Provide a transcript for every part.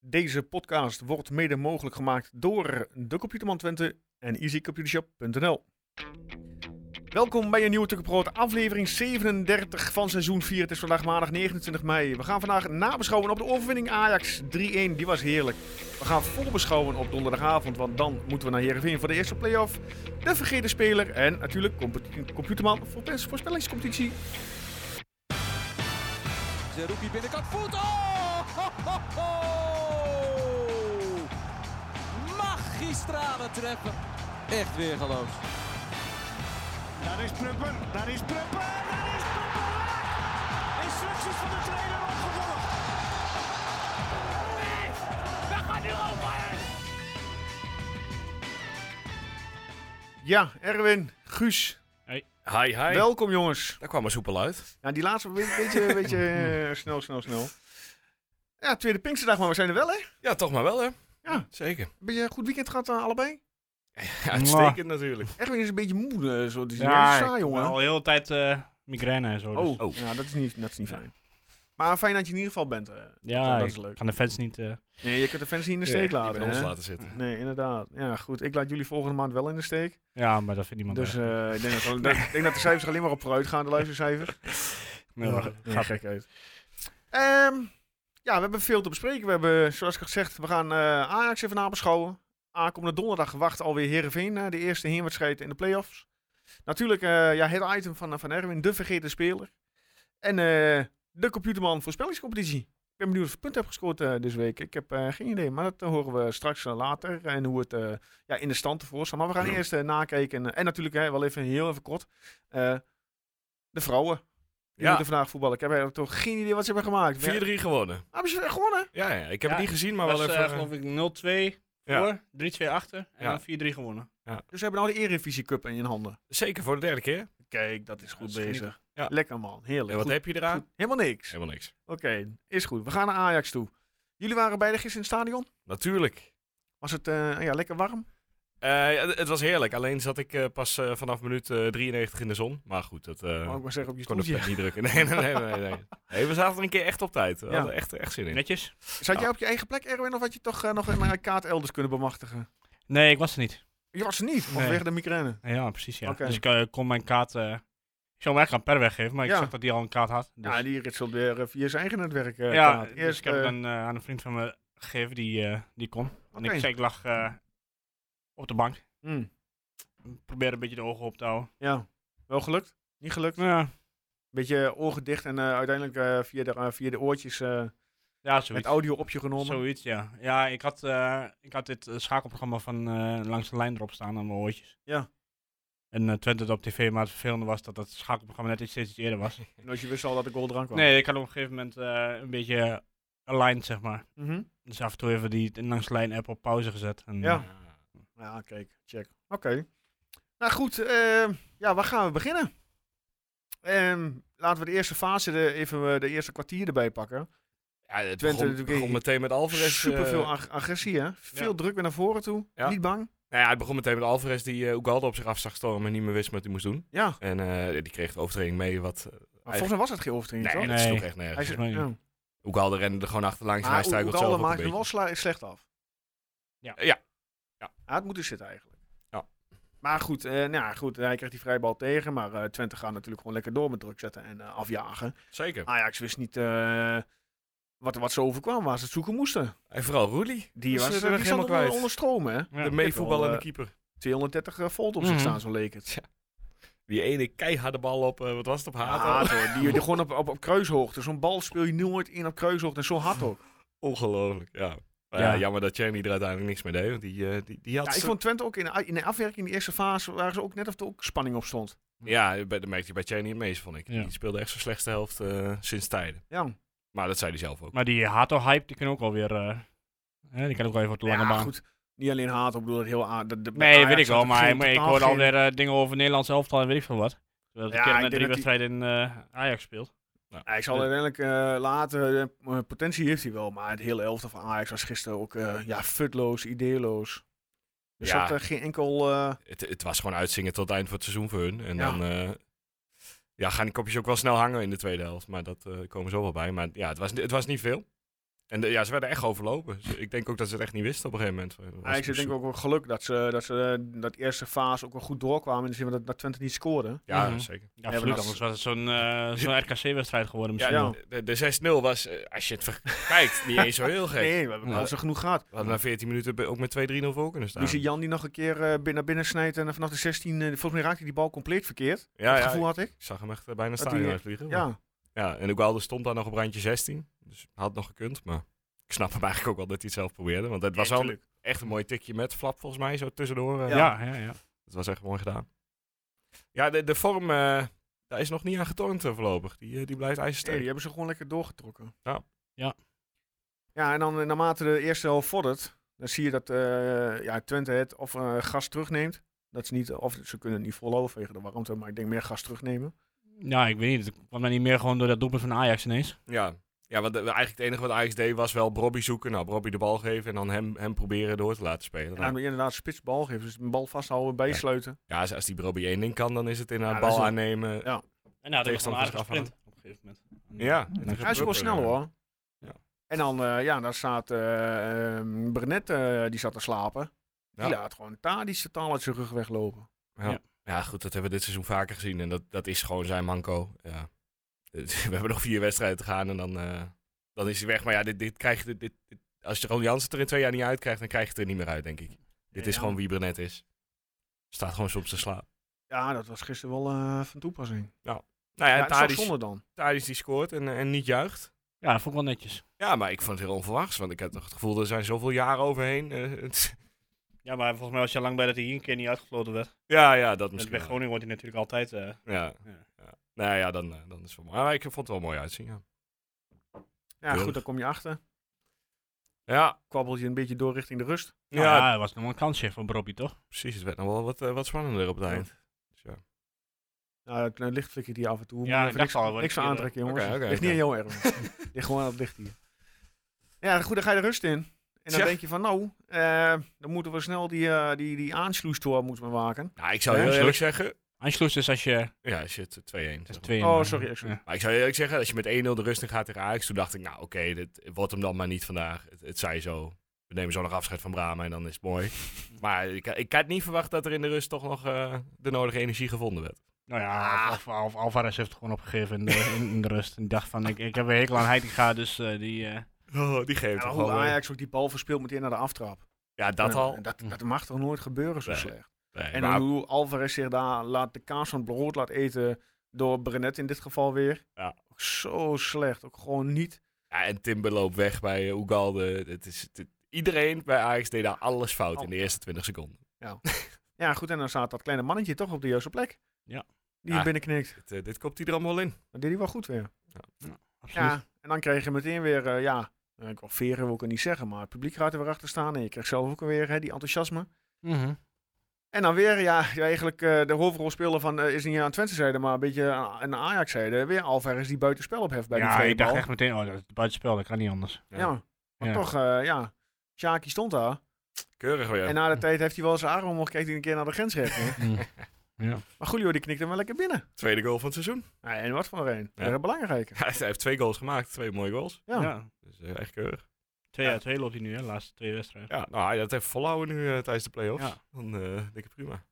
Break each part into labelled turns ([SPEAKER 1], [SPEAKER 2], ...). [SPEAKER 1] Deze podcast wordt mede mogelijk gemaakt door de Computerman Twente en easycomputershop.nl. Welkom bij een nieuwe Tukkenproot, aflevering 37 van seizoen 4. Het is vandaag maandag 29 mei. We gaan vandaag nabeschouwen op de overwinning Ajax 3-1, die was heerlijk. We gaan voorbeschouwen op donderdagavond, want dan moeten we naar Heerenveen voor de eerste play-off. De vergeten speler en natuurlijk compet- Computerman voor voorspellingscompetitie.
[SPEAKER 2] Zerouki binnenkant voet. Oh! Ho, ho, ho! Magistrale treppen. Echt weer geloof.
[SPEAKER 3] Daar is Prupper, daar is Prupper, daar is Prupper! Instructies van de trainer opgevolgd.
[SPEAKER 1] Ja, Erwin, Guus,
[SPEAKER 4] Hi, hi.
[SPEAKER 1] welkom jongens.
[SPEAKER 4] Daar kwam er soepel uit.
[SPEAKER 1] Ja, die laatste een beetje, beetje eh, snel, snel, snel. Ja, tweede Pinksterdag, maar we zijn er wel, hè?
[SPEAKER 4] Ja, toch maar wel, hè?
[SPEAKER 1] Ja.
[SPEAKER 4] Zeker.
[SPEAKER 1] Een beetje een goed weekend gehad eh, allebei.
[SPEAKER 4] Uitstekend natuurlijk.
[SPEAKER 1] Erwin is een beetje moe, eh, zo. Die is
[SPEAKER 5] Ja,
[SPEAKER 1] saai, jongen.
[SPEAKER 5] al heel de tijd eh, migraine en zo. dus-
[SPEAKER 1] nou, Oh, ja, dat is niet, dat is niet fijn. Maar fijn dat je in ieder geval bent. eh.
[SPEAKER 5] ja,
[SPEAKER 1] dat is
[SPEAKER 5] ik
[SPEAKER 1] leuk.
[SPEAKER 5] kan de fans niet. eh,
[SPEAKER 1] Nee, je kunt de fans niet in de
[SPEAKER 4] Ja,
[SPEAKER 1] steek
[SPEAKER 4] die
[SPEAKER 1] laten.
[SPEAKER 4] bij ons
[SPEAKER 1] hè?
[SPEAKER 4] laten zitten.
[SPEAKER 1] Nee, inderdaad. Ja, goed. Ik laat jullie volgende maand wel in de steek.
[SPEAKER 5] ja, maar dat vindt niemand.
[SPEAKER 1] Dus
[SPEAKER 5] erg.
[SPEAKER 1] eh, ik, denk dat, ik denk dat de cijfers er alleen maar op vooruit gaan, de luistercijfers.
[SPEAKER 5] Nee,
[SPEAKER 1] Ja,
[SPEAKER 5] maar-
[SPEAKER 1] nee, gek uit. Ehm, ja, we hebben veel te bespreken. We hebben, zoals ik al gezegd, we gaan eh, Ajax even nabeschouwen. Aankomende donderdag wacht alweer Heerenveen na de eerste heenwedstrijd in de play-offs. Natuurlijk eh, ja, het item van, van Erwin, de vergeten speler. En eh, de computerman voorspellingscompetitie. Ik ben benieuwd of je punten hebt gescoord eh, deze week. Ik heb eh, geen idee, maar dat eh, horen we straks eh, later. En hoe het eh, ja, in de stand ervoor staat. Maar we gaan eerst eh, nakijken. En, en natuurlijk hè, wel even heel even kort. eh, de vrouwen. Die
[SPEAKER 4] Ja.
[SPEAKER 1] moeten vandaag voetballen. Ik heb eigenlijk toch geen idee wat ze hebben gemaakt.
[SPEAKER 4] 4-3 gewonnen.
[SPEAKER 1] Hebben ze weer gewonnen?
[SPEAKER 4] Ja, ja. Ik heb
[SPEAKER 5] Ja,
[SPEAKER 4] het niet gezien, maar wel
[SPEAKER 5] was,
[SPEAKER 4] even...
[SPEAKER 5] eh, geloof ik 0-2
[SPEAKER 4] Ja.
[SPEAKER 5] voor, 3-2 achter en
[SPEAKER 4] Ja.
[SPEAKER 5] dan 4-3 gewonnen.
[SPEAKER 1] Dus ze hebben nou de Eredivisie Cup in hun handen.
[SPEAKER 4] Zeker voor de derde keer.
[SPEAKER 1] Kijk, dat is goed
[SPEAKER 5] dat is
[SPEAKER 1] bezig.
[SPEAKER 4] Ja.
[SPEAKER 1] Lekker man, heerlijk.
[SPEAKER 4] En wat
[SPEAKER 1] Goed,
[SPEAKER 4] heb je eraan?
[SPEAKER 1] goed. Helemaal niks.
[SPEAKER 4] Helemaal niks.
[SPEAKER 1] Oké, is goed. We gaan naar Ajax toe. Jullie waren beide gisteren in het stadion.
[SPEAKER 4] Natuurlijk.
[SPEAKER 1] Was het eh, ja, lekker warm?
[SPEAKER 4] Eh, ja, het, het was heerlijk. Alleen zat ik eh, pas eh, vanaf minuut eh, 93 in de zon. Maar goed, dat eh,
[SPEAKER 1] Mag ik maar zeggen op je
[SPEAKER 4] kon de
[SPEAKER 1] stoeltje.
[SPEAKER 4] pet niet drukken. Nee, nee, nee. nee, nee. Nee, we zaten er een keer echt op tijd. We
[SPEAKER 1] Ja.
[SPEAKER 4] hadden echt, echt zin in.
[SPEAKER 5] Netjes?
[SPEAKER 1] Zat jij op je eigen plek, Erwin, of had je toch eh, nog een eh, kaart elders kunnen bemachtigen?
[SPEAKER 5] Nee, ik was er niet.
[SPEAKER 1] Je was er niet, vanwege de migraine.
[SPEAKER 5] Ja, precies. Ja.
[SPEAKER 1] Oké.
[SPEAKER 5] Dus ik eh, kon mijn kaart. eh, ik zou hem eigenlijk aan Per weggeven, maar
[SPEAKER 1] Ja.
[SPEAKER 5] ik zag dat hij al een kaart had. Dus,
[SPEAKER 1] Ja, die ritselt weer eh, via zijn eigen netwerk. eh,
[SPEAKER 5] Ja,
[SPEAKER 1] kaart.
[SPEAKER 5] dus
[SPEAKER 1] Eerst,
[SPEAKER 5] ik heb
[SPEAKER 1] eh,
[SPEAKER 5] het dan eh, aan een vriend van me gegeven die, eh, die kon. En
[SPEAKER 1] Oké.
[SPEAKER 5] ik, zei, ik lag eh, op de bank.
[SPEAKER 1] hmm,
[SPEAKER 5] Probeerde een beetje de ogen op te houden.
[SPEAKER 1] ja, wel gelukt? Niet gelukt?
[SPEAKER 5] Ja,
[SPEAKER 1] Beetje ogen dicht en eh, uiteindelijk eh, via, de, eh, via de oortjes eh,
[SPEAKER 5] ja zoiets.
[SPEAKER 1] met audio op je genomen.
[SPEAKER 5] Zoiets, ja. Ja, ik had, eh, ik had dit eh, schakelprogramma van eh, Langs de Lijn erop staan aan mijn oortjes.
[SPEAKER 1] Ja.
[SPEAKER 5] En eh, Twente het op tv, maar het vervelende was dat dat schakelprogramma net iets steeds iets eerder was.
[SPEAKER 1] En als je wist al dat de goal eraan kwam.
[SPEAKER 5] Nee, ik had op een gegeven moment eh, een beetje eh, aligned, zeg maar.
[SPEAKER 1] Mhm.
[SPEAKER 5] Dus af en toe even die Langs de Lijn app op pauze gezet. En,
[SPEAKER 1] Ja.
[SPEAKER 5] eh,
[SPEAKER 1] Ja, kijk, check. Oké. Nou goed, ehm, ja, waar gaan we beginnen? Ehm, laten we de eerste fase, de, even eh, de eerste kwartier erbij pakken.
[SPEAKER 4] Ja, het
[SPEAKER 1] Twente
[SPEAKER 4] begon,
[SPEAKER 1] natuurlijk
[SPEAKER 4] begon meteen met Alvarez.
[SPEAKER 1] Super veel
[SPEAKER 4] eh,
[SPEAKER 1] agressie, hè? Veel druk weer naar voren toe.
[SPEAKER 4] Ja.
[SPEAKER 1] Niet bang.
[SPEAKER 4] nou ja, het begon meteen met Alvarez die eh Ugalde op zich af zag stormen en niet meer wist wat hij moest doen.
[SPEAKER 1] Ja, maar
[SPEAKER 4] En eh, die kreeg de overtreding mee, wat... eh,
[SPEAKER 1] volgens mij was het geen overtreding,
[SPEAKER 4] nee,
[SPEAKER 1] toch?
[SPEAKER 4] dat
[SPEAKER 5] Nee.
[SPEAKER 4] sloeg echt nergens.
[SPEAKER 1] Hij zei,
[SPEAKER 5] volgens mij
[SPEAKER 1] ja.
[SPEAKER 4] Ugalde rende er gewoon achterlangs en hij
[SPEAKER 1] Maar
[SPEAKER 4] struikelt
[SPEAKER 1] Oegalde
[SPEAKER 4] zelf ook een
[SPEAKER 1] maakte
[SPEAKER 4] beetje.
[SPEAKER 1] hem wel sla- slecht af.
[SPEAKER 4] Ja,
[SPEAKER 1] Hij had moeten zitten eigenlijk.
[SPEAKER 4] Ja.
[SPEAKER 1] Maar goed, eh, nou ja, goed, hij kreeg die vrijbal tegen. Maar eh, Twente gaat natuurlijk gewoon lekker door met druk zetten en eh, afjagen.
[SPEAKER 4] zeker.
[SPEAKER 1] Ajax wist niet eh, wat, wat ze overkwam, waar ze het zoeken moesten.
[SPEAKER 4] En vooral Roelie.
[SPEAKER 1] Die
[SPEAKER 4] Dus,
[SPEAKER 1] was
[SPEAKER 4] eh,
[SPEAKER 1] er
[SPEAKER 4] dat
[SPEAKER 1] helemaal
[SPEAKER 4] is helemaal
[SPEAKER 1] onder,
[SPEAKER 4] kwijt.
[SPEAKER 1] onder stroom, hè?
[SPEAKER 5] Ja.
[SPEAKER 4] de meevoetballende keeper.
[SPEAKER 1] 230 volt op zich
[SPEAKER 5] Mhm.
[SPEAKER 1] staan, zo leek het.
[SPEAKER 4] Die ene keiharde bal op, eh, wat was het, op Hato?
[SPEAKER 1] Hard, hoor. Die, die gewoon op, op, op kruishoogte. Zo'n bal speel je nooit in op kruishoogte. En zo hard ook.
[SPEAKER 4] Ongelooflijk, ja. Maar ja,
[SPEAKER 5] Ja.
[SPEAKER 4] Jammer dat Jamie er uiteindelijk niks mee deed, want die, eh, die, die had...
[SPEAKER 1] Ja, ik
[SPEAKER 4] zo-
[SPEAKER 1] vond Twente ook in de, a- in de afwerking in de eerste fase... waren ze ook net of er ook spanning op stond.
[SPEAKER 4] ja bij- dat merkte je bij Jamie het meest, vond ik.
[SPEAKER 5] Ja.
[SPEAKER 4] Die speelde echt zijn slechtste helft eh, sinds tijden.
[SPEAKER 1] Ja,
[SPEAKER 4] Maar dat zei hij zelf ook.
[SPEAKER 5] Maar die Hato-hype, die kan ook wel weer... eh, hè, die kan ook wel even op de lange
[SPEAKER 1] ja
[SPEAKER 5] baan.
[SPEAKER 1] goed. Niet alleen haat, ik bedoel, het heel a- dat de-
[SPEAKER 5] Nee,
[SPEAKER 1] Ajax
[SPEAKER 5] weet ik
[SPEAKER 1] had
[SPEAKER 5] wel,
[SPEAKER 1] er
[SPEAKER 5] maar
[SPEAKER 1] geen-
[SPEAKER 5] ik, ik
[SPEAKER 1] totaal
[SPEAKER 5] hoorde
[SPEAKER 1] geen-
[SPEAKER 5] alweer eh, dingen over Nederlands elftal en weet ik veel wat. Terwijl
[SPEAKER 1] Ja,
[SPEAKER 5] de
[SPEAKER 1] ik
[SPEAKER 5] keer
[SPEAKER 1] denk
[SPEAKER 5] met drie
[SPEAKER 1] dat die-
[SPEAKER 5] wedstrijden in eh, Ajax speelt.
[SPEAKER 1] Hij zal uiteindelijk eh, later... eh, potentie heeft hij wel, maar het hele elftal van Ajax was gisteren ook... eh, ja, futloos, ideeloos. Er
[SPEAKER 4] Ja.
[SPEAKER 1] zat eh, geen enkel... eh,
[SPEAKER 4] Het, het was gewoon uitzingen tot het eind van het seizoen voor hun. En
[SPEAKER 1] Ja.
[SPEAKER 4] dan eh, ja, gaan die kopjes ook wel snel hangen in de tweede helft. Maar dat eh, komen we zo wel bij. Maar ja, het was, het was niet veel. En de- ja, ze werden echt overlopen. Ze- Ik denk ook dat ze het echt niet wisten op een gegeven moment. Eh, Was
[SPEAKER 1] Ajax heeft
[SPEAKER 4] het
[SPEAKER 1] denk ik
[SPEAKER 4] zo-
[SPEAKER 1] ook wel geluk dat ze, dat ze eh, dat eerste fase ook wel goed doorkwamen. In de zin van dat, dat Twente niet scoorde.
[SPEAKER 4] Ja,
[SPEAKER 5] Mhm.
[SPEAKER 4] zeker.
[SPEAKER 5] Ja,
[SPEAKER 1] maar
[SPEAKER 5] absoluut.
[SPEAKER 1] dat-
[SPEAKER 5] Anders was het zo'n eh, zo'n RKC-wedstrijd geworden
[SPEAKER 4] Ja,
[SPEAKER 5] misschien.
[SPEAKER 1] Ja.
[SPEAKER 5] wel.
[SPEAKER 4] De, de 6-0 was, eh, als je het verkijkt, niet eens zo heel gek.
[SPEAKER 1] Nee, we hebben
[SPEAKER 4] Ja.
[SPEAKER 1] kansen genoeg gehad.
[SPEAKER 4] We hadden na 14 minuten be- ook met 2-3-0 voor kunnen staan.
[SPEAKER 1] Die zie Jan die nog een keer eh, bin- naar binnen snijdt en vanaf de 16, eh, volgens mij raakte hij die bal compleet verkeerd.
[SPEAKER 4] Ja,
[SPEAKER 1] dat
[SPEAKER 4] ja,
[SPEAKER 1] gevoel
[SPEAKER 4] ik
[SPEAKER 1] had ik.
[SPEAKER 4] zag hem echt eh, bijna
[SPEAKER 1] Dat
[SPEAKER 4] staan
[SPEAKER 1] die-
[SPEAKER 4] uitvliegen. maar-
[SPEAKER 1] Ja.
[SPEAKER 4] ja, en Ugalde stond daar nog op randje 16. Dus had nog gekund, maar ik snap hem eigenlijk ook wel dat hij het zelf probeerde. Want het was wel een- echt een mooi tikje met flap volgens mij, zo tussendoor. eh.
[SPEAKER 1] Ja.
[SPEAKER 5] Ja, ja, ja.
[SPEAKER 4] Dat was echt mooi gedaan. Ja, de, de vorm, eh, daar is nog niet aan getornd eh, voorlopig. Die, eh, die blijft
[SPEAKER 1] Nee,
[SPEAKER 4] ijzersterk.
[SPEAKER 1] die hebben ze gewoon lekker doorgetrokken.
[SPEAKER 4] Ja.
[SPEAKER 5] Ja.
[SPEAKER 1] Ja, en dan eh, naarmate de eerste helft vordert, dan zie je dat eh, ja, Twente het of eh, gas terugneemt. Dat ze niet, of ze kunnen het niet volhouden tegen de warmte, maar ik denk meer gas terugnemen.
[SPEAKER 5] Ja, ik weet niet. Het kwam mij niet meer gewoon door dat doelpunt van Ajax ineens.
[SPEAKER 4] Ja, ja want eh, eigenlijk het enige wat Ajax deed was wel Bobby zoeken. Nou, Bobby de bal geven en dan hem, hem proberen door te laten spelen.
[SPEAKER 1] En dan
[SPEAKER 4] Nou,
[SPEAKER 1] inderdaad spitsbal geven, dus een bal vasthouden, bijsluiten.
[SPEAKER 4] ja, als, als die Bobby één ding kan, dan is het in haar
[SPEAKER 1] Ja, dat is
[SPEAKER 4] bal
[SPEAKER 1] een-
[SPEAKER 4] aannemen.
[SPEAKER 1] ja.
[SPEAKER 5] En ja,
[SPEAKER 4] dat was gewoon een aardige sprint
[SPEAKER 5] Op een gegeven moment.
[SPEAKER 4] Ja,
[SPEAKER 5] Nou,
[SPEAKER 1] Hij is wel snel hoor.
[SPEAKER 4] eh, Ja.
[SPEAKER 1] En dan, eh, ja, dan staat eh ehm, Brenet, eh, die zat te slapen.
[SPEAKER 4] Ja.
[SPEAKER 1] Die laat gewoon Tadic totaal uit zijn rug weglopen.
[SPEAKER 4] Ja, goed, dat hebben we dit seizoen vaker gezien. En dat, dat is gewoon zijn manco. Ja. We hebben nog vier wedstrijden te gaan en dan, eh, dan is hij weg. Maar ja, dit, dit krijg je, dit, dit- als je Ron Jansen het er in twee jaar niet uit krijgt, dan krijg je het er niet meer uit, denk ik. Dit is
[SPEAKER 1] Ja.
[SPEAKER 4] gewoon wie Brenet is. Staat gewoon soms te Nou slaan.
[SPEAKER 1] Ja, dat was gisteren wel eh, van toepassing.
[SPEAKER 4] Nou ja,
[SPEAKER 1] Ja, het is
[SPEAKER 4] Tadic,
[SPEAKER 1] zonde dan.
[SPEAKER 4] Tadic die scoort en, eh, en niet juicht.
[SPEAKER 5] Ja, dat vond ik wel netjes.
[SPEAKER 4] Ja, maar ik vond het heel onverwachts. Want ik had toch het gevoel, er zijn zoveel jaren overheen. eh, het-
[SPEAKER 5] Ja, maar volgens mij was je al lang bij dat hij hier een keer niet uitgefloten werd.
[SPEAKER 4] ja, ja, dat
[SPEAKER 5] Dus
[SPEAKER 4] misschien
[SPEAKER 5] bij
[SPEAKER 4] wel.
[SPEAKER 5] Groningen wordt hij natuurlijk altijd... eh,
[SPEAKER 4] Ja.
[SPEAKER 5] Ja.
[SPEAKER 4] Ja. Nou ja, dan, eh, dan is het wel mooi. Maar ik vond het wel mooi uitzien, ja.
[SPEAKER 1] Ja, goed,
[SPEAKER 4] Keurig.
[SPEAKER 1] dan kom je achter.
[SPEAKER 4] Ja,
[SPEAKER 1] Kwabbelt je een beetje door richting de rust.
[SPEAKER 5] nou
[SPEAKER 4] ja,
[SPEAKER 5] ja, dat was nog wel een kansje voor Bobby, toch?
[SPEAKER 4] precies. Het werd nog wel wat, eh, wat spannender op het
[SPEAKER 1] Ja.
[SPEAKER 4] eind. Dus ja.
[SPEAKER 1] Nou, het eh, licht flikkert hier af en toe.
[SPEAKER 5] Ja,
[SPEAKER 1] maar
[SPEAKER 5] ik
[SPEAKER 1] even
[SPEAKER 5] dacht
[SPEAKER 1] niks,
[SPEAKER 5] al, wordt
[SPEAKER 1] niks van
[SPEAKER 5] hier, eh,
[SPEAKER 1] aantrekken, jongens.
[SPEAKER 4] oké, oké,
[SPEAKER 1] ligt niet aan jou, Erwin. ligt gewoon aan het licht hier. Ja, goed, dan ga je de rust in. En dan
[SPEAKER 4] Tja.
[SPEAKER 1] denk je van, nou, eh, dan moeten we snel die, eh die, die aansluistor moeten we maken.
[SPEAKER 4] Nou, ik zou
[SPEAKER 5] Ja,
[SPEAKER 4] heel
[SPEAKER 5] is
[SPEAKER 4] eerlijk zeggen...
[SPEAKER 5] Anschluss is als je...
[SPEAKER 4] Ja, shit, 2-1.
[SPEAKER 5] Dat is
[SPEAKER 4] zeg maar.
[SPEAKER 5] twee
[SPEAKER 1] Oh,
[SPEAKER 5] maar-
[SPEAKER 1] sorry, ik-
[SPEAKER 5] Ja.
[SPEAKER 4] Maar ik zou heel eerlijk zeggen, als je met 1-0 de rust in gaat tegen Ajax... Toen dacht ik, nou oké, dit wordt hem dan maar niet vandaag. Het, het zij zo. We nemen zo nog afscheid van Brama en dan is het mooi. maar ik, ik had niet verwacht dat er in de rust toch nog eh, de nodige energie gevonden werd.
[SPEAKER 5] Nou
[SPEAKER 1] Ah.
[SPEAKER 5] ja, Alv- Alv- Alvarez heeft het gewoon opgegeven in de, in, in de rust. En die dacht van, ik, ik heb een hekel aan Heitinga, dus eh, die... eh,
[SPEAKER 4] Oh, die
[SPEAKER 1] Ja,
[SPEAKER 4] geeft
[SPEAKER 1] maar
[SPEAKER 4] toch
[SPEAKER 1] hoe
[SPEAKER 4] wel. eh,
[SPEAKER 1] Ajax ook die bal verspeelt meteen naar de aftrap.
[SPEAKER 4] Ja, dat
[SPEAKER 1] En,
[SPEAKER 4] al.
[SPEAKER 1] en Dat, dat mag toch nooit gebeuren zo
[SPEAKER 4] Nee.
[SPEAKER 1] slecht.
[SPEAKER 4] Nee,
[SPEAKER 1] En
[SPEAKER 4] maar-
[SPEAKER 1] hoe Alvarez zich daar laat de kaas van het brood laat eten door Brenet in dit geval weer.
[SPEAKER 4] Ja.
[SPEAKER 1] Ook zo slecht. Ook gewoon niet.
[SPEAKER 4] Ja, en Timber loopt weg bij eh, Ugalde. Het is, het- iedereen bij Ajax deed daar alles fout
[SPEAKER 1] Oh.
[SPEAKER 4] in de eerste 20 seconden.
[SPEAKER 1] Ja, goed. En dan staat dat kleine mannetje toch op de juiste plek.
[SPEAKER 5] Ja.
[SPEAKER 1] Die hem
[SPEAKER 4] Ah.
[SPEAKER 1] binnenknikt.
[SPEAKER 4] Dit, eh, dit komt hij er allemaal in.
[SPEAKER 1] Dat deed hij wel goed weer.
[SPEAKER 5] absoluut.
[SPEAKER 1] Ja. En dan kreeg je meteen weer, eh, ja, eh, ik wil veren wil ik het niet zeggen, maar het publiek gaat er weer achter staan. En je kreeg zelf ook weer hè, die enthousiasme.
[SPEAKER 5] Mhm.
[SPEAKER 1] En dan weer, ja, ja, eigenlijk eh, de hoofdrolspeler van, eh, is niet aan Twente zijde, maar een beetje aan aan de Ajax zijde. Weer Alvarez die buitenspel opheft bij die
[SPEAKER 5] Ja,
[SPEAKER 1] vrije
[SPEAKER 5] ik dacht
[SPEAKER 1] bal.
[SPEAKER 5] echt meteen, oh, dat is buitenspel, dat kan niet anders.
[SPEAKER 1] Ja.
[SPEAKER 4] Ja.
[SPEAKER 1] Maar
[SPEAKER 5] Ja.
[SPEAKER 1] toch, eh, ja. Sjaki stond daar.
[SPEAKER 4] Keurig weer.
[SPEAKER 1] En na de tijd heeft hij wel zijn arm omhoog gekeken en een keer naar de grensrechter.
[SPEAKER 5] Mm.
[SPEAKER 1] maar Julio die knikt hem wel lekker binnen.
[SPEAKER 4] Tweede goal van het seizoen.
[SPEAKER 1] Ja, en wat voor een.
[SPEAKER 4] Ja.
[SPEAKER 1] Erg belangrijk.
[SPEAKER 4] Ja, hij heeft twee goals gemaakt. Twee mooie goals.
[SPEAKER 1] Ja.
[SPEAKER 5] Ja.
[SPEAKER 4] Dus eh, echt keurig.
[SPEAKER 5] Twee
[SPEAKER 4] Ja.
[SPEAKER 5] uit twee loopt hij nu, hè, de laatste twee wedstrijden.
[SPEAKER 4] Ja, nou, hij dat heeft volhouden nu eh, tijdens de play-offs.
[SPEAKER 5] Ja.
[SPEAKER 4] Dan eh, denk ik prima.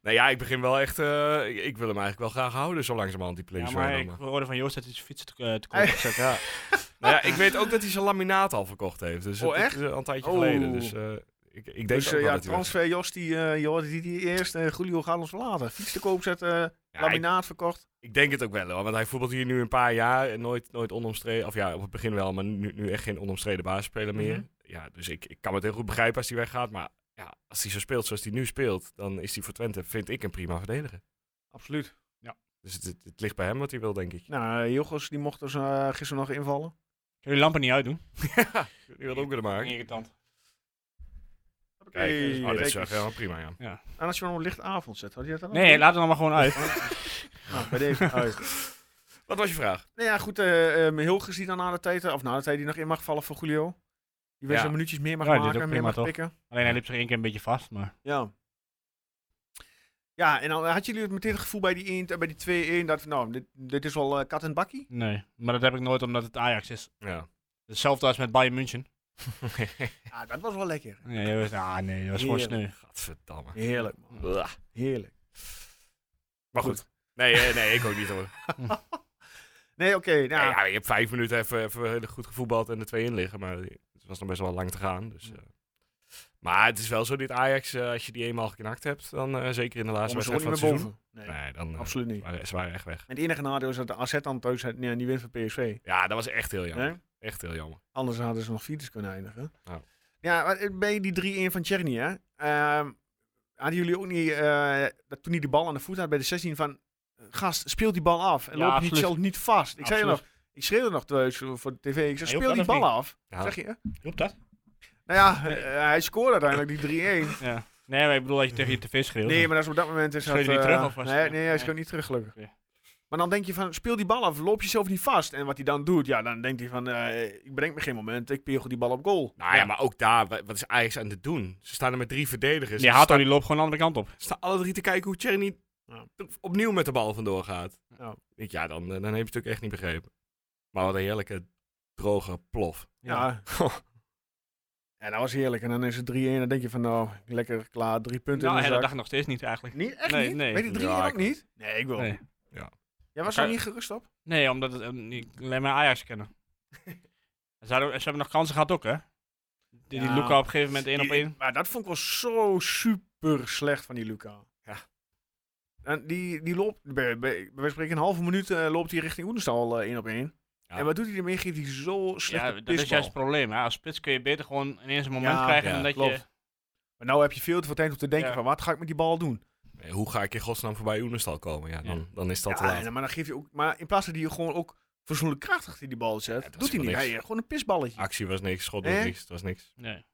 [SPEAKER 4] Nou ja, ik begin wel echt... eh, ik, ik wil hem eigenlijk wel graag houden, zo langzamerhand, die
[SPEAKER 5] Ja,
[SPEAKER 4] play-offs.
[SPEAKER 5] maar
[SPEAKER 4] wel,
[SPEAKER 5] ik
[SPEAKER 4] maar-
[SPEAKER 5] hoorde van Joost dat hij zijn fiets te, eh, te kort had gezet. Ja.
[SPEAKER 4] Nou ja, ik weet ook dat hij zijn laminaat al verkocht heeft. Dus
[SPEAKER 1] Oh,
[SPEAKER 4] het- het
[SPEAKER 1] echt?
[SPEAKER 4] is al een tijdje
[SPEAKER 1] Oh.
[SPEAKER 4] geleden. Dus eh, ik, ik denk
[SPEAKER 1] Dus eh,
[SPEAKER 4] ook wel
[SPEAKER 1] ja,
[SPEAKER 4] dat hij weg-
[SPEAKER 1] transfer Jos die, eh, joh, die, die eerst eh Julio gaat ons verlaten. Fiets te koop zetten,
[SPEAKER 4] Ja, ik-
[SPEAKER 1] laminaat verkocht.
[SPEAKER 4] Ik denk het ook wel hoor, want hij voetbalt hier nu een paar jaar en nooit, nooit onomstreden. Of ja, op het begin wel, maar nu, nu echt geen onomstreden basisspeler meer.
[SPEAKER 1] Mhm.
[SPEAKER 4] Ja, dus ik, ik kan het heel goed begrijpen als hij weggaat. Maar ja, als hij zo speelt zoals hij nu speelt, dan is hij voor Twente, vind ik, een prima verdediger.
[SPEAKER 1] Absoluut.
[SPEAKER 4] Dus het, het, het ligt bij hem wat hij wil, denk ik.
[SPEAKER 1] Nou, eh, Jochos die mocht dus eh, gisteren nog invallen.
[SPEAKER 5] Kun je die lampen niet uitdoen?
[SPEAKER 4] ja, die wil ook kunnen maken.
[SPEAKER 5] Irritant.
[SPEAKER 4] Kijk,
[SPEAKER 1] Hey,
[SPEAKER 4] oh, dit
[SPEAKER 1] kijk
[SPEAKER 4] is wel
[SPEAKER 1] eens.
[SPEAKER 4] helemaal prima, ja.
[SPEAKER 1] En als je wel een licht avond zet, had je dat dan ook?
[SPEAKER 5] Nee, laat het dan maar gewoon uit.
[SPEAKER 1] Nou, bij deze uit.
[SPEAKER 4] Wat was je vraag?
[SPEAKER 1] Nou ja, goed, eh um, Hilgers die dan na de tijd, eh, of na de tijd die nog in mag vallen voor Julio. Die weer
[SPEAKER 4] Ja.
[SPEAKER 1] zijn minuutjes meer mag
[SPEAKER 5] Ja, die is ook
[SPEAKER 1] maken, meer
[SPEAKER 5] prima,
[SPEAKER 1] mag
[SPEAKER 5] toch?
[SPEAKER 1] pikken.
[SPEAKER 5] Alleen hij liep zich één keer een beetje vast, maar...
[SPEAKER 1] Ja. Ja, en dan eh, had jullie het meteen het gevoel bij die, 1, eh, bij die 2-1 dat, nou, dit, dit is wel eh, kat en bakkie?
[SPEAKER 5] Nee, maar dat heb ik nooit omdat het Ajax is.
[SPEAKER 4] Ja.
[SPEAKER 5] Hetzelfde als met Bayern München.
[SPEAKER 1] Ja, dat was wel lekker.
[SPEAKER 5] Nee, dat was, ah, nee, dat was gewoon
[SPEAKER 1] Heerlijk.
[SPEAKER 5] sneu.
[SPEAKER 4] Gadverdamme.
[SPEAKER 1] Heerlijk, man.
[SPEAKER 4] Blah.
[SPEAKER 1] Heerlijk.
[SPEAKER 4] Maar goed. Nee, eh, nee, ik ook niet hoor.
[SPEAKER 1] Nee, oké. nou,
[SPEAKER 4] Nee, ja, je hebt vijf minuten even, even heel goed gevoetbald en de twee in liggen. Maar het was nog best wel lang te gaan. Dus, eh. Maar het is wel zo, dit Ajax, eh, als je die eenmaal geknakt hebt, dan eh, zeker in de laatste
[SPEAKER 1] komen ze ook
[SPEAKER 4] wedstrijd
[SPEAKER 1] niet
[SPEAKER 4] van
[SPEAKER 1] meer
[SPEAKER 4] het seizoen.
[SPEAKER 1] boven. Nee,
[SPEAKER 4] Nee, dan eh,
[SPEAKER 1] absoluut niet.
[SPEAKER 4] waren, ze waren echt weg.
[SPEAKER 1] En het enige nadeel is dat de AZ aan het thuis had- nee, die wint van PSV.
[SPEAKER 4] Ja, dat was echt heel jammer.
[SPEAKER 1] Hè?
[SPEAKER 4] Echt heel jammer.
[SPEAKER 1] Anders hadden ze nog vierders kunnen eindigen.
[SPEAKER 4] Ja.
[SPEAKER 1] Ja, maar bij die 3-1 van Tjerni, hè? ehm, hadden jullie ook niet, eh, dat toen hij de bal aan de voet had bij de 16 van... eh, Gast, speel die bal af en
[SPEAKER 5] Ja,
[SPEAKER 1] loop niet
[SPEAKER 5] absoluut. zelf
[SPEAKER 1] zelf niet vast. Ik zei
[SPEAKER 5] Absoluut.
[SPEAKER 1] nog, ik schreeuwde nog thuis voor de tv. Ik zei,
[SPEAKER 5] Nee,
[SPEAKER 1] speel
[SPEAKER 5] hoeft
[SPEAKER 1] die
[SPEAKER 5] dat
[SPEAKER 1] bal
[SPEAKER 5] nog
[SPEAKER 1] af.
[SPEAKER 4] Ja.
[SPEAKER 1] Zeg je?
[SPEAKER 5] Klopt dat?
[SPEAKER 1] Nou ja, eh, hij scoorde uiteindelijk die 3-1.
[SPEAKER 5] Ja. Nee, maar ik bedoel dat je tegen je tv schreeuwt.
[SPEAKER 1] Nee, maar dat is op dat moment is dat,
[SPEAKER 5] Schreeuwde hij
[SPEAKER 1] eh,
[SPEAKER 5] terug of was
[SPEAKER 1] nee,
[SPEAKER 5] het-
[SPEAKER 1] nee, hij
[SPEAKER 5] nee.
[SPEAKER 1] schreeuwt niet terug gelukkig.
[SPEAKER 5] Oké.
[SPEAKER 1] Maar dan denk je van, speel die bal af, loop jezelf niet vast. En wat hij dan doet, ja, dan denkt hij van, eh, ik breng me geen moment, ik pegel die bal op goal.
[SPEAKER 4] Nou ja, maar ook daar, wa- wat is Ajax aan het doen? Ze staan er met drie verdedigers.
[SPEAKER 5] Die
[SPEAKER 4] Ze
[SPEAKER 5] haat
[SPEAKER 4] staan,
[SPEAKER 5] die loopt gewoon de andere kant op.
[SPEAKER 4] staan alle drie te kijken hoe Tjerni
[SPEAKER 1] Ja.
[SPEAKER 4] opnieuw met de bal vandoor gaat.
[SPEAKER 1] Ja.
[SPEAKER 4] Ik denk, Ja, dan, eh, dan heb je het natuurlijk echt niet begrepen. Maar wat een heerlijke, droge plof.
[SPEAKER 1] Ja. En dat was heerlijk. En dan is het 3-1, dan denk je van, nou, lekker klaar, drie punten
[SPEAKER 5] Nou,
[SPEAKER 1] in
[SPEAKER 5] hè,
[SPEAKER 1] de zak.
[SPEAKER 5] dat dacht ik nog steeds niet eigenlijk.
[SPEAKER 1] Niet, echt
[SPEAKER 5] Nee,
[SPEAKER 1] niet?
[SPEAKER 5] nee.
[SPEAKER 1] Weet je 3-1
[SPEAKER 4] Ja,
[SPEAKER 1] ook
[SPEAKER 4] ik-
[SPEAKER 1] niet? Nee, ik wel.
[SPEAKER 5] Nee.
[SPEAKER 1] Jij was
[SPEAKER 5] Maar
[SPEAKER 1] er
[SPEAKER 5] kan-
[SPEAKER 1] niet gerust op?
[SPEAKER 5] Nee, omdat het, ehm, ik alleen maar Ajax kennen. ze, hadden, ze hebben nog kansen gehad ook, hè? Die, die
[SPEAKER 1] Ja.
[SPEAKER 5] Luca op een gegeven moment één op
[SPEAKER 1] Die-
[SPEAKER 5] één.
[SPEAKER 1] Maar dat vond ik wel zo super slecht van die Luca.
[SPEAKER 4] Ja.
[SPEAKER 1] En die, die loopt, bij, bij, bij wijze van spreken een halve minuut eh, loopt hij richting Oenestal eh, één op één.
[SPEAKER 4] Ja.
[SPEAKER 1] En wat doet hij ermee? Geeft hij zo slecht
[SPEAKER 5] Ja, dat is juist het probleem. Hè? Als spits kun je beter gewoon ineens een moment
[SPEAKER 1] Ja,
[SPEAKER 5] krijgen
[SPEAKER 4] ja,
[SPEAKER 5] dan dat je...
[SPEAKER 1] klopt. Maar nou heb je veel te veel tijd om te denken
[SPEAKER 5] Ja.
[SPEAKER 1] van, wat ga ik met die bal doen?
[SPEAKER 4] Eh, Hoe ga ik in godsnaam voorbij Oenestal komen? Ja, dan,
[SPEAKER 5] Ja.
[SPEAKER 4] dan is dat te
[SPEAKER 1] ja,
[SPEAKER 4] laat.
[SPEAKER 1] en- maar, dan geef je ook, maar in plaats dat hij gewoon ook verzoenlijk krachtig die bal zet,
[SPEAKER 4] Ja, dat
[SPEAKER 1] doet
[SPEAKER 4] is
[SPEAKER 1] hij niet.
[SPEAKER 4] wel niks. Ah.
[SPEAKER 1] Hij, eh, gewoon een pisballetje.
[SPEAKER 4] Actie was niks, schot was
[SPEAKER 1] Eh?
[SPEAKER 4] niks, het was niks.
[SPEAKER 5] Nee.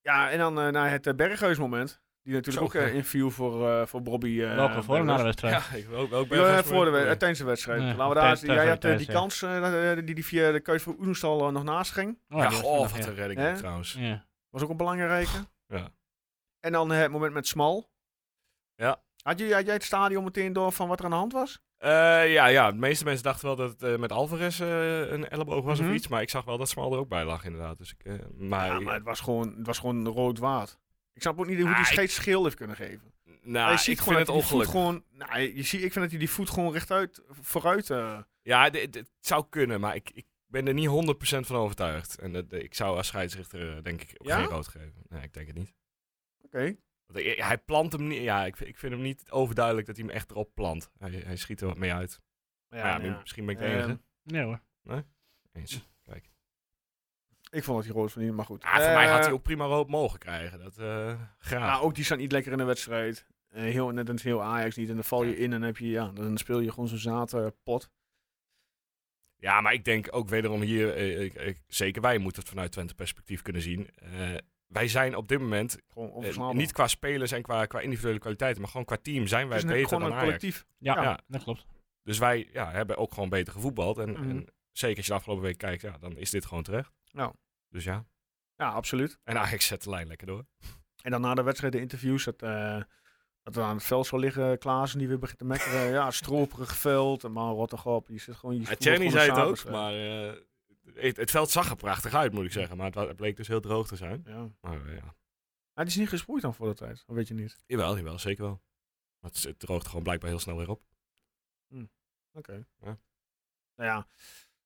[SPEAKER 1] Ja, en dan eh, naar het eh, Berghuis moment. Die natuurlijk
[SPEAKER 4] Zo,
[SPEAKER 1] ook
[SPEAKER 4] ja.
[SPEAKER 1] in inviel voor, eh, voor Bobby. eh,
[SPEAKER 5] Welke voor hem na de
[SPEAKER 1] Berghuis.
[SPEAKER 5] wedstrijd?
[SPEAKER 4] ik wil ook, ook
[SPEAKER 1] Ja, eh, voor de, wed- eh, tijdens de wedstrijd.
[SPEAKER 5] Nee,
[SPEAKER 1] Laten we daar,
[SPEAKER 5] tijdens-
[SPEAKER 1] jij had eh,
[SPEAKER 5] tijdens,
[SPEAKER 1] die
[SPEAKER 5] ja.
[SPEAKER 1] kans eh, eh, die, die via de keuze voor Oenestal eh, nog naast ging.
[SPEAKER 5] Oh,
[SPEAKER 4] Ja,
[SPEAKER 5] die was
[SPEAKER 4] goh,
[SPEAKER 5] vandaag,
[SPEAKER 4] wat
[SPEAKER 5] ja.
[SPEAKER 4] een redding
[SPEAKER 1] Eh?
[SPEAKER 4] trouwens.
[SPEAKER 5] Ja.
[SPEAKER 1] Was ook een belangrijke.
[SPEAKER 4] Ja.
[SPEAKER 1] En dan eh, het moment met Smal.
[SPEAKER 4] Ja.
[SPEAKER 1] Had, je, had jij het stadion meteen door van wat er aan de hand was?
[SPEAKER 4] Eh, ja, ja, de meeste mensen dachten wel dat het eh, met Alvarez eh, een elleboog was
[SPEAKER 1] Mhm.
[SPEAKER 4] of iets. Maar ik zag wel dat Smal er ook bij lag, inderdaad. Dus ik, eh, maar,
[SPEAKER 1] Ja, maar het was gewoon, het was gewoon rood waard. Ik snap ook niet hoe hij
[SPEAKER 4] Ah, ik-
[SPEAKER 1] steeds scheel heeft kunnen geven.
[SPEAKER 4] nou,
[SPEAKER 1] je ziet
[SPEAKER 4] ik vind het
[SPEAKER 1] dat hij die voet
[SPEAKER 4] ongeluk.
[SPEAKER 1] gewoon, nou, je ziet, ik vind dat hij die voet gewoon rechtuit, vooruit. eh,
[SPEAKER 4] Ja, dit- dit- het zou kunnen, maar ik, ik ben er niet 100% van overtuigd. En dat, ik zou als scheidsrechter, eh, denk ik, ook
[SPEAKER 1] Ja?
[SPEAKER 4] geen rood geven. Nee, ik denk het niet.
[SPEAKER 1] Oké.
[SPEAKER 4] Want hij, hij plant hem niet. Ja, ik, vind- ik vind hem niet overduidelijk dat hij hem echt erop plant. Hij, hij schiet er wat mee uit. Maar Ja,
[SPEAKER 1] nou
[SPEAKER 4] misschien ben ik de
[SPEAKER 1] Ehm,
[SPEAKER 4] enige.
[SPEAKER 5] Nee hoor.
[SPEAKER 4] Eens.
[SPEAKER 1] Ik vond dat hij rood verdiende, maar goed.
[SPEAKER 4] Ah, voor mij had hij
[SPEAKER 1] Eh,
[SPEAKER 4] ook prima rood mogen krijgen. Dat, eh, graag.
[SPEAKER 1] Nou, ook die staan niet lekker in de wedstrijd. Eh, heel, net als heel Ajax niet. En dan val je in en dan heb je, ja, dan speel je gewoon zo'n zaterpot.
[SPEAKER 4] Ja, maar ik denk ook wederom hier, eh, ik- ik- zeker wij moeten het vanuit Twente perspectief kunnen zien. Eh, wij zijn op dit moment, eh,
[SPEAKER 1] Gewoon onverslaanbaar.
[SPEAKER 4] niet qua spelers en qua, qua individuele kwaliteiten, maar gewoon qua team zijn
[SPEAKER 1] het
[SPEAKER 4] wij
[SPEAKER 1] is net
[SPEAKER 4] beter
[SPEAKER 1] gewoon
[SPEAKER 4] dan
[SPEAKER 1] een
[SPEAKER 4] Ajax.
[SPEAKER 1] collectief.
[SPEAKER 5] Ja,
[SPEAKER 4] Ja.
[SPEAKER 5] dat klopt.
[SPEAKER 4] Dus wij ja, hebben ook gewoon beter gevoetbald. En,
[SPEAKER 1] Mhm.
[SPEAKER 4] en zeker als je de afgelopen week kijkt, ja, dan is dit gewoon terecht.
[SPEAKER 1] Nou.
[SPEAKER 4] Dus ja,
[SPEAKER 1] Ja, absoluut.
[SPEAKER 4] en Ajax zet de lijn lekker door.
[SPEAKER 1] En dan na de wedstrijd de interviews, dat, eh, dat er aan het veld zou liggen, Klaassen die weer begint te mekkeren. ja, stroperig veld, maar rot toch op. Je zit gewoon, je
[SPEAKER 4] Ja,
[SPEAKER 1] voelt
[SPEAKER 4] Tjerni
[SPEAKER 1] gewoon een
[SPEAKER 4] zei het ook,
[SPEAKER 1] zaterdag.
[SPEAKER 4] maar eh, het, het veld zag er prachtig uit, moet ik zeggen. Maar het, wa- het bleek dus heel droog te zijn.
[SPEAKER 1] Ja. Maar
[SPEAKER 4] Maar eh, ja,
[SPEAKER 1] het is niet gesproeid dan voor de tijd, dat weet je niet.
[SPEAKER 4] jawel, jawel, zeker wel. Maar het, het droogt gewoon blijkbaar heel snel weer op.
[SPEAKER 1] Oké.
[SPEAKER 4] Ja.
[SPEAKER 1] Nou ja.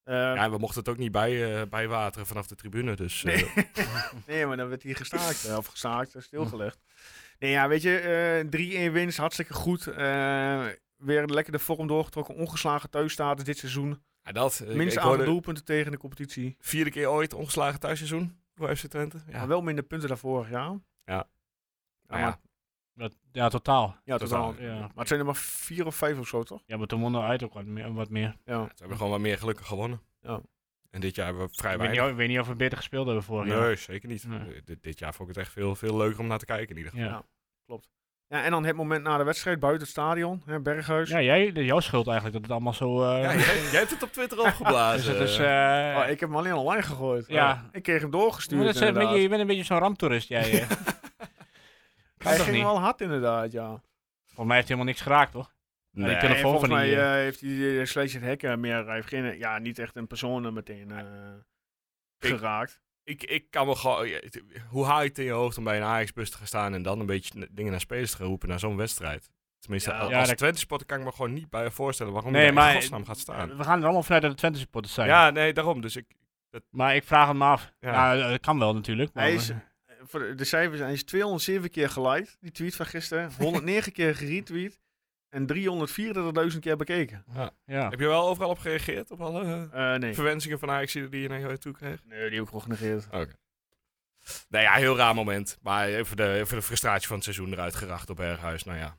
[SPEAKER 1] eh,
[SPEAKER 4] Ja, en we mochten het ook niet bij, eh, bijwateren vanaf de tribune, dus... eh,
[SPEAKER 1] Nee. nee, maar dan werd hij gestaakt. eh, Of gestaakt, eh, stilgelegd.
[SPEAKER 4] Hm.
[SPEAKER 1] Nee, ja, weet je, eh 3-1 winst, hartstikke goed. Eh, weer lekker de vorm doorgetrokken. Ongeslagen thuisstatus dit seizoen.
[SPEAKER 4] ja, dat, eh,
[SPEAKER 1] Minst
[SPEAKER 4] ik
[SPEAKER 1] aantal
[SPEAKER 4] hoorde
[SPEAKER 1] doelpunten tegen in de competitie.
[SPEAKER 4] vierde keer ooit ongeslagen thuisseizoen voor FC Twente.
[SPEAKER 1] Maar
[SPEAKER 4] Ja,
[SPEAKER 1] wel minder punten dan vorig jaar.
[SPEAKER 4] Ja.
[SPEAKER 1] Ja,
[SPEAKER 4] Nou ja,
[SPEAKER 1] maar,
[SPEAKER 5] Dat, ja, totaal.
[SPEAKER 1] ja,
[SPEAKER 4] totaal.
[SPEAKER 1] totaal.
[SPEAKER 5] Ja.
[SPEAKER 1] Maar het zijn er maar vier of vijf of zo, toch?
[SPEAKER 5] ja, maar toen won er uit ook wat meer. Wat meer.
[SPEAKER 1] Ja.
[SPEAKER 4] Ze hebben gewoon wat meer gelukkig gewonnen.
[SPEAKER 1] Ja.
[SPEAKER 4] En dit jaar hebben we vrij
[SPEAKER 5] Ik, weet niet,
[SPEAKER 4] weinig.
[SPEAKER 5] of- ik weet niet of we beter gespeeld hebben vorig jaar.
[SPEAKER 4] Nee, zeker niet.
[SPEAKER 5] Nee.
[SPEAKER 4] Eh, Dit, dit jaar vond ik het echt veel, veel leuker om naar te kijken in ieder geval.
[SPEAKER 5] Ja.
[SPEAKER 1] Ja. ja. En dan het moment na de wedstrijd buiten het stadion, hè, Berghuis.
[SPEAKER 5] Ja, jij, jouw schuld eigenlijk dat het allemaal zo... eh,
[SPEAKER 4] Ja, jij, jij hebt het op Twitter
[SPEAKER 5] dus
[SPEAKER 4] opgeblazen.
[SPEAKER 5] het is... eh,
[SPEAKER 1] Oh, ik heb hem alleen online gegooid.
[SPEAKER 5] Ja.
[SPEAKER 1] Ik kreeg hem doorgestuurd.
[SPEAKER 5] Maar dat is een
[SPEAKER 1] inderdaad.
[SPEAKER 5] beetje- je bent een beetje zo'n ramptoerist, jij. eh. Kan
[SPEAKER 1] Hij
[SPEAKER 5] toch
[SPEAKER 1] ging
[SPEAKER 5] niet?
[SPEAKER 1] wel hard inderdaad, ja.
[SPEAKER 5] Volgens mij heeft hij helemaal niks geraakt, toch? Nee, ik
[SPEAKER 4] Nee,
[SPEAKER 5] ken
[SPEAKER 1] En
[SPEAKER 5] hem volgens
[SPEAKER 1] volgens
[SPEAKER 5] mij
[SPEAKER 1] mij
[SPEAKER 5] niet,
[SPEAKER 1] eh, heeft hij uh, Slash Hacker meer, hij heeft geen, eh, ja, niet echt een persoon meteen eh, geraakt.
[SPEAKER 4] Ik, ik kan me gewoon... ja, het- Hoe haal je het in je hoofd om bij een Ajax-bus te gaan staan en dan een beetje n- dingen naar spelers te gaan roepen naar zo'n wedstrijd? Tenminste,
[SPEAKER 1] Ja.
[SPEAKER 4] al- als
[SPEAKER 5] Ja, dat-
[SPEAKER 4] Twente-spotter kan ik me gewoon niet bij voorstellen waarom
[SPEAKER 5] Nee,
[SPEAKER 4] je daar
[SPEAKER 5] maar-
[SPEAKER 4] in godsnaam gaat staan.
[SPEAKER 5] We gaan er allemaal vanuit dat het Twente supporters zijn.
[SPEAKER 4] Ja, nee, daarom. Dus ik...
[SPEAKER 5] Maar ik vraag het me af.
[SPEAKER 4] Ja.
[SPEAKER 5] Ja, dat kan wel natuurlijk. Maar
[SPEAKER 1] Hij is, eh, voor de- de cijfers, hij is 207 keer geliked, die tweet van gisteren, 109 keer geretweet en 334.000 keer bekeken.
[SPEAKER 5] ja.
[SPEAKER 4] Heb je wel overal op gereageerd? Op alle eh,
[SPEAKER 1] Eh, nee.
[SPEAKER 4] verwensingen van Ajax die je naar jou toe kreeg?
[SPEAKER 1] nee, die heb ik gewoon genegeerd.
[SPEAKER 4] Nou ja, heel raar moment. Maar even de, even de frustratie van het seizoen eruit geracht op Erghuis. Nou ja.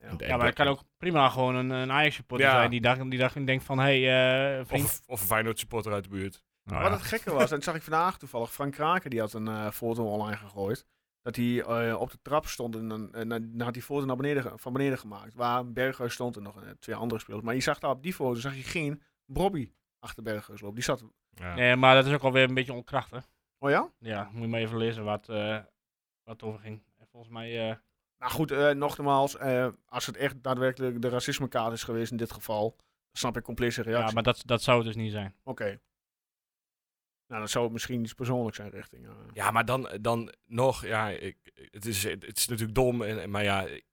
[SPEAKER 1] Ja.
[SPEAKER 4] En- en
[SPEAKER 5] ja, maar het kan ook prima gewoon een, een Ajax supporter
[SPEAKER 4] Ja.
[SPEAKER 5] zijn die dag, die dag denkt van, hé hey, eh, vriend.
[SPEAKER 4] Of, of een Feyenoord supporter uit de buurt.
[SPEAKER 5] Nou
[SPEAKER 1] Wat
[SPEAKER 5] ja.
[SPEAKER 1] het gekke was, en dat zag ik vandaag toevallig, Frank Kraken die had een eh, foto online gegooid. Dat hij eh, op de trap stond en dan, en dan had die foto naar beneden, ge- van beneden gemaakt. Waar Berghuis stond en nog eh, twee andere spelers. Maar je zag daar op die foto zag je geen Bobby achter Berghuis lopen. Die zat...
[SPEAKER 4] Ja.
[SPEAKER 5] Nee, maar dat is ook alweer een beetje onkrachtig.
[SPEAKER 1] Oh ja?
[SPEAKER 5] Ja, moet je maar even lezen wat, eh wat over ging. Volgens mij... eh,
[SPEAKER 1] Nou goed, eh, nogmaals, eh, als het echt daadwerkelijk de racismekaart is geweest in dit geval, snap ik compleet zijn
[SPEAKER 5] ja,
[SPEAKER 1] reactie.
[SPEAKER 5] maar dat, dat zou het dus niet zijn.
[SPEAKER 1] Oké. Nou, dan zou het misschien iets persoonlijks zijn richting. eh.
[SPEAKER 4] Ja, maar dan, dan nog, ja, ik, het, is, het is natuurlijk dom, en, en- maar ja, ik-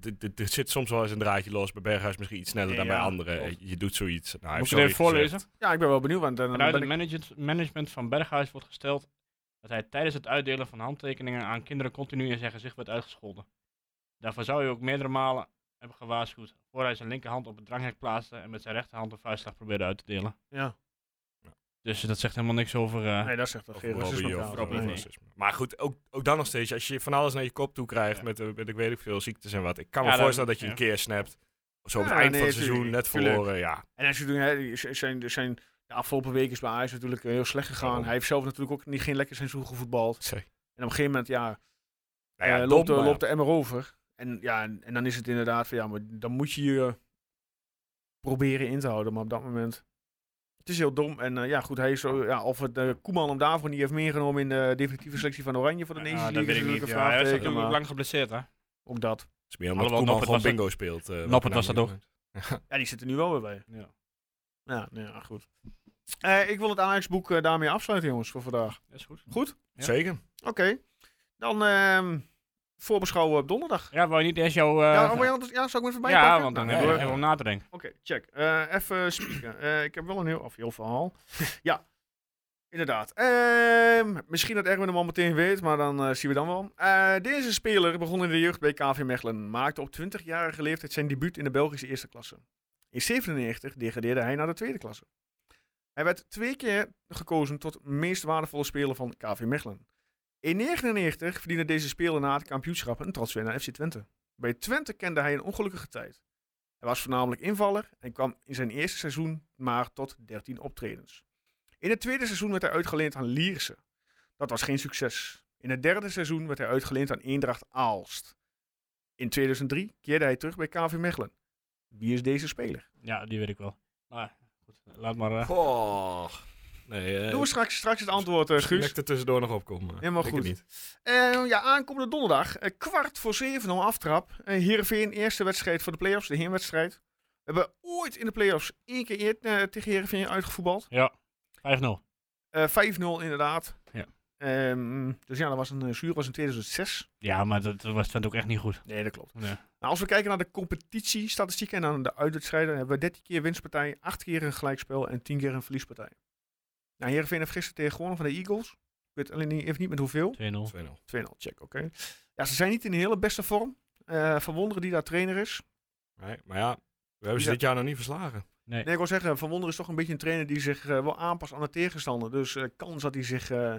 [SPEAKER 4] d- d- er zit soms wel eens een draadje los. Bij Berghuis misschien iets sneller dan bij
[SPEAKER 1] Ja,
[SPEAKER 4] anderen.
[SPEAKER 1] klopt.
[SPEAKER 4] Je doet zoiets. Nou, hij
[SPEAKER 5] Moet
[SPEAKER 4] heeft
[SPEAKER 5] ik het even
[SPEAKER 4] zoiets gezegd.
[SPEAKER 5] voorlezen?
[SPEAKER 1] Ja, ik ben wel benieuwd, want dan
[SPEAKER 5] Vanuit
[SPEAKER 1] ben
[SPEAKER 5] het
[SPEAKER 1] ik...
[SPEAKER 5] management, management van Berghuis wordt gesteld dat hij tijdens het uitdelen van handtekeningen aan kinderen continu in zijn gezicht werd uitgescholden. Daarvoor zou hij ook meerdere malen hebben gewaarschuwd, voor hij zijn linkerhand op het dranghek plaatste en met zijn rechterhand een vuistslag probeerde uit te delen.
[SPEAKER 1] Ja.
[SPEAKER 5] Dus dat zegt helemaal niks over... eh,
[SPEAKER 1] Nee, dat zegt toch
[SPEAKER 4] Of
[SPEAKER 1] geen
[SPEAKER 4] Robbie
[SPEAKER 1] racismekaart.
[SPEAKER 4] of-
[SPEAKER 5] Robbie,
[SPEAKER 4] of
[SPEAKER 5] nee.
[SPEAKER 4] racisme. Maar goed, ook, ook dan nog steeds, als je van alles naar je kop toe krijgt
[SPEAKER 5] Ja.
[SPEAKER 4] met, eh, met ik weet ik veel ziektes en wat. Ik kan me
[SPEAKER 5] Ja, dan-
[SPEAKER 4] voorstellen dat je
[SPEAKER 5] ja.
[SPEAKER 4] een keer snapt. Zo op
[SPEAKER 1] Ja,
[SPEAKER 4] het eind
[SPEAKER 1] nee,
[SPEAKER 4] van het
[SPEAKER 1] tuurlijk,
[SPEAKER 4] seizoen, net
[SPEAKER 1] tuurlijk.
[SPEAKER 4] verloren, ja.
[SPEAKER 1] En als je doet, hè, z- zijn, zijn de afgelopen weken is bij Ajax natuurlijk eh, heel slecht gegaan.
[SPEAKER 4] Daarom.
[SPEAKER 1] Hij heeft zelf natuurlijk ook niet geen lekker seizoen gevoetbald.
[SPEAKER 4] Sorry.
[SPEAKER 1] En op een gegeven moment, ja,
[SPEAKER 4] Nou ja,
[SPEAKER 1] eh,
[SPEAKER 4] dom,
[SPEAKER 1] loopt, de,
[SPEAKER 4] maar ja.
[SPEAKER 1] loopt de emmer over. En, ja, en, en dan is het inderdaad van, ja, maar dan moet je je proberen in te houden. Maar op dat moment, het is heel dom. En eh, ja, goed, hij is zo, ja, of het eh, Koeman hem daarvoor niet heeft meegenomen in de definitieve selectie van Oranje voor de
[SPEAKER 5] nou,
[SPEAKER 1] Nations
[SPEAKER 5] dat
[SPEAKER 1] League
[SPEAKER 5] weet
[SPEAKER 1] is
[SPEAKER 5] ik
[SPEAKER 1] natuurlijk een
[SPEAKER 5] niet. Ja, hij is
[SPEAKER 1] vraagteken,
[SPEAKER 5] natuurlijk ook
[SPEAKER 1] maar
[SPEAKER 5] lang geblesseerd, hè?
[SPEAKER 1] ook dat.
[SPEAKER 4] Het is meer omdat
[SPEAKER 5] Alhoewel,
[SPEAKER 4] Koeman
[SPEAKER 5] Noppert
[SPEAKER 4] gewoon
[SPEAKER 5] was dat-
[SPEAKER 4] bingo speelt. eh, wat
[SPEAKER 5] Noppert
[SPEAKER 4] er
[SPEAKER 5] was
[SPEAKER 4] nou
[SPEAKER 5] dat
[SPEAKER 4] niet gebeurt.
[SPEAKER 1] Ja, die zit er nu wel weer bij.
[SPEAKER 5] Ja.
[SPEAKER 1] Ja, nou ja, goed. Eh, ik wil het Ajax-boek eh, daarmee afsluiten, jongens, voor vandaag.
[SPEAKER 5] Dat is goed.
[SPEAKER 1] Goed?
[SPEAKER 5] Ja.
[SPEAKER 4] Zeker.
[SPEAKER 1] Oké. Dan ehm, voorbeschouwen op donderdag.
[SPEAKER 5] Ja, wou je niet eerst jouw... eh,
[SPEAKER 1] ja, oh, wil je anders- ja, zou ik hem even
[SPEAKER 5] ja,
[SPEAKER 1] bijpakken?
[SPEAKER 5] want dan
[SPEAKER 1] Nou,
[SPEAKER 5] hebben we
[SPEAKER 1] eh,
[SPEAKER 5] hebben we om na te denken.
[SPEAKER 1] Oké, check. Eh, even spieken. Eh, ik heb wel een heel, of heel verhaal. ja, inderdaad. Ehm, misschien dat Erwin hem al meteen weet, maar dan eh, zien we dan wel. Eh, deze speler begon in de jeugd bij KV Mechelen. Maakte op 20-jarige leeftijd zijn debuut in de Belgische eerste klasse. In 97 degradeerde hij naar de tweede klasse. Hij werd twee keer gekozen tot meest waardevolle speler van KV Mechelen. In 1999 verdiende deze speler na het kampioenschap een transfer naar FC Twente. Bij Twente kende hij een ongelukkige tijd. Hij was voornamelijk invaller en kwam in zijn eerste seizoen maar tot 13 optredens. In het tweede seizoen werd hij uitgeleend aan Lierse. Dat was geen succes. In het derde seizoen werd hij uitgeleend aan Eendracht Aalst. In 2003 keerde hij terug bij KV Mechelen. Wie is deze speler?
[SPEAKER 5] Ja, die weet ik wel. Maar goed, laat maar... eh,
[SPEAKER 4] Goh. Nee, eh,
[SPEAKER 1] Doen we straks, straks het antwoord, eh,
[SPEAKER 4] Misschien dat
[SPEAKER 1] Guus.
[SPEAKER 4] ik er tussendoor nog opkomen.
[SPEAKER 1] Helemaal
[SPEAKER 4] Ik denk het niet.
[SPEAKER 1] Eh, ja, aankomende donderdag, eh, kwart voor zeven al aftrap. Eh Heerenveen, eerste wedstrijd voor de play-offs, de heenwedstrijd. We hebben ooit in de play-offs één keer eer- eh, tegen Heerenveen uitgevoetbald.
[SPEAKER 5] ja, 5-0.
[SPEAKER 1] Eh, 5-0 inderdaad.
[SPEAKER 5] Ja.
[SPEAKER 1] Ehm, dus ja, dat was een eh, zuur was in 2006.
[SPEAKER 5] Ja, maar dat dat was Twente ook echt niet goed.
[SPEAKER 1] Nee, dat klopt.
[SPEAKER 5] Nee.
[SPEAKER 1] Nou, als we kijken naar de competitiestatistieken en dan de uitwedstrijden, hebben we 13 keer winstpartij, 8 keer een gelijkspel en 10 keer een verliespartij. Nou, Heerenveen heeft gisteren tegen gewonnen van de Eagles. Ik weet alleen niet, even niet met hoeveel.
[SPEAKER 5] 2-0.
[SPEAKER 4] 2-0.
[SPEAKER 1] 2-0, check, oké. Ja, ze zijn niet in de hele beste vorm. Eh Van Wonderen die daar trainer is.
[SPEAKER 4] Nee, maar ja, we hebben ze
[SPEAKER 1] Ja.
[SPEAKER 4] dit jaar nog niet verslagen.
[SPEAKER 1] Nee, ik wil zeggen, Van Wonderen is toch een beetje een trainer die zich eh, wel aanpast aan de tegenstander. Dus eh, kans dat hij zich eh,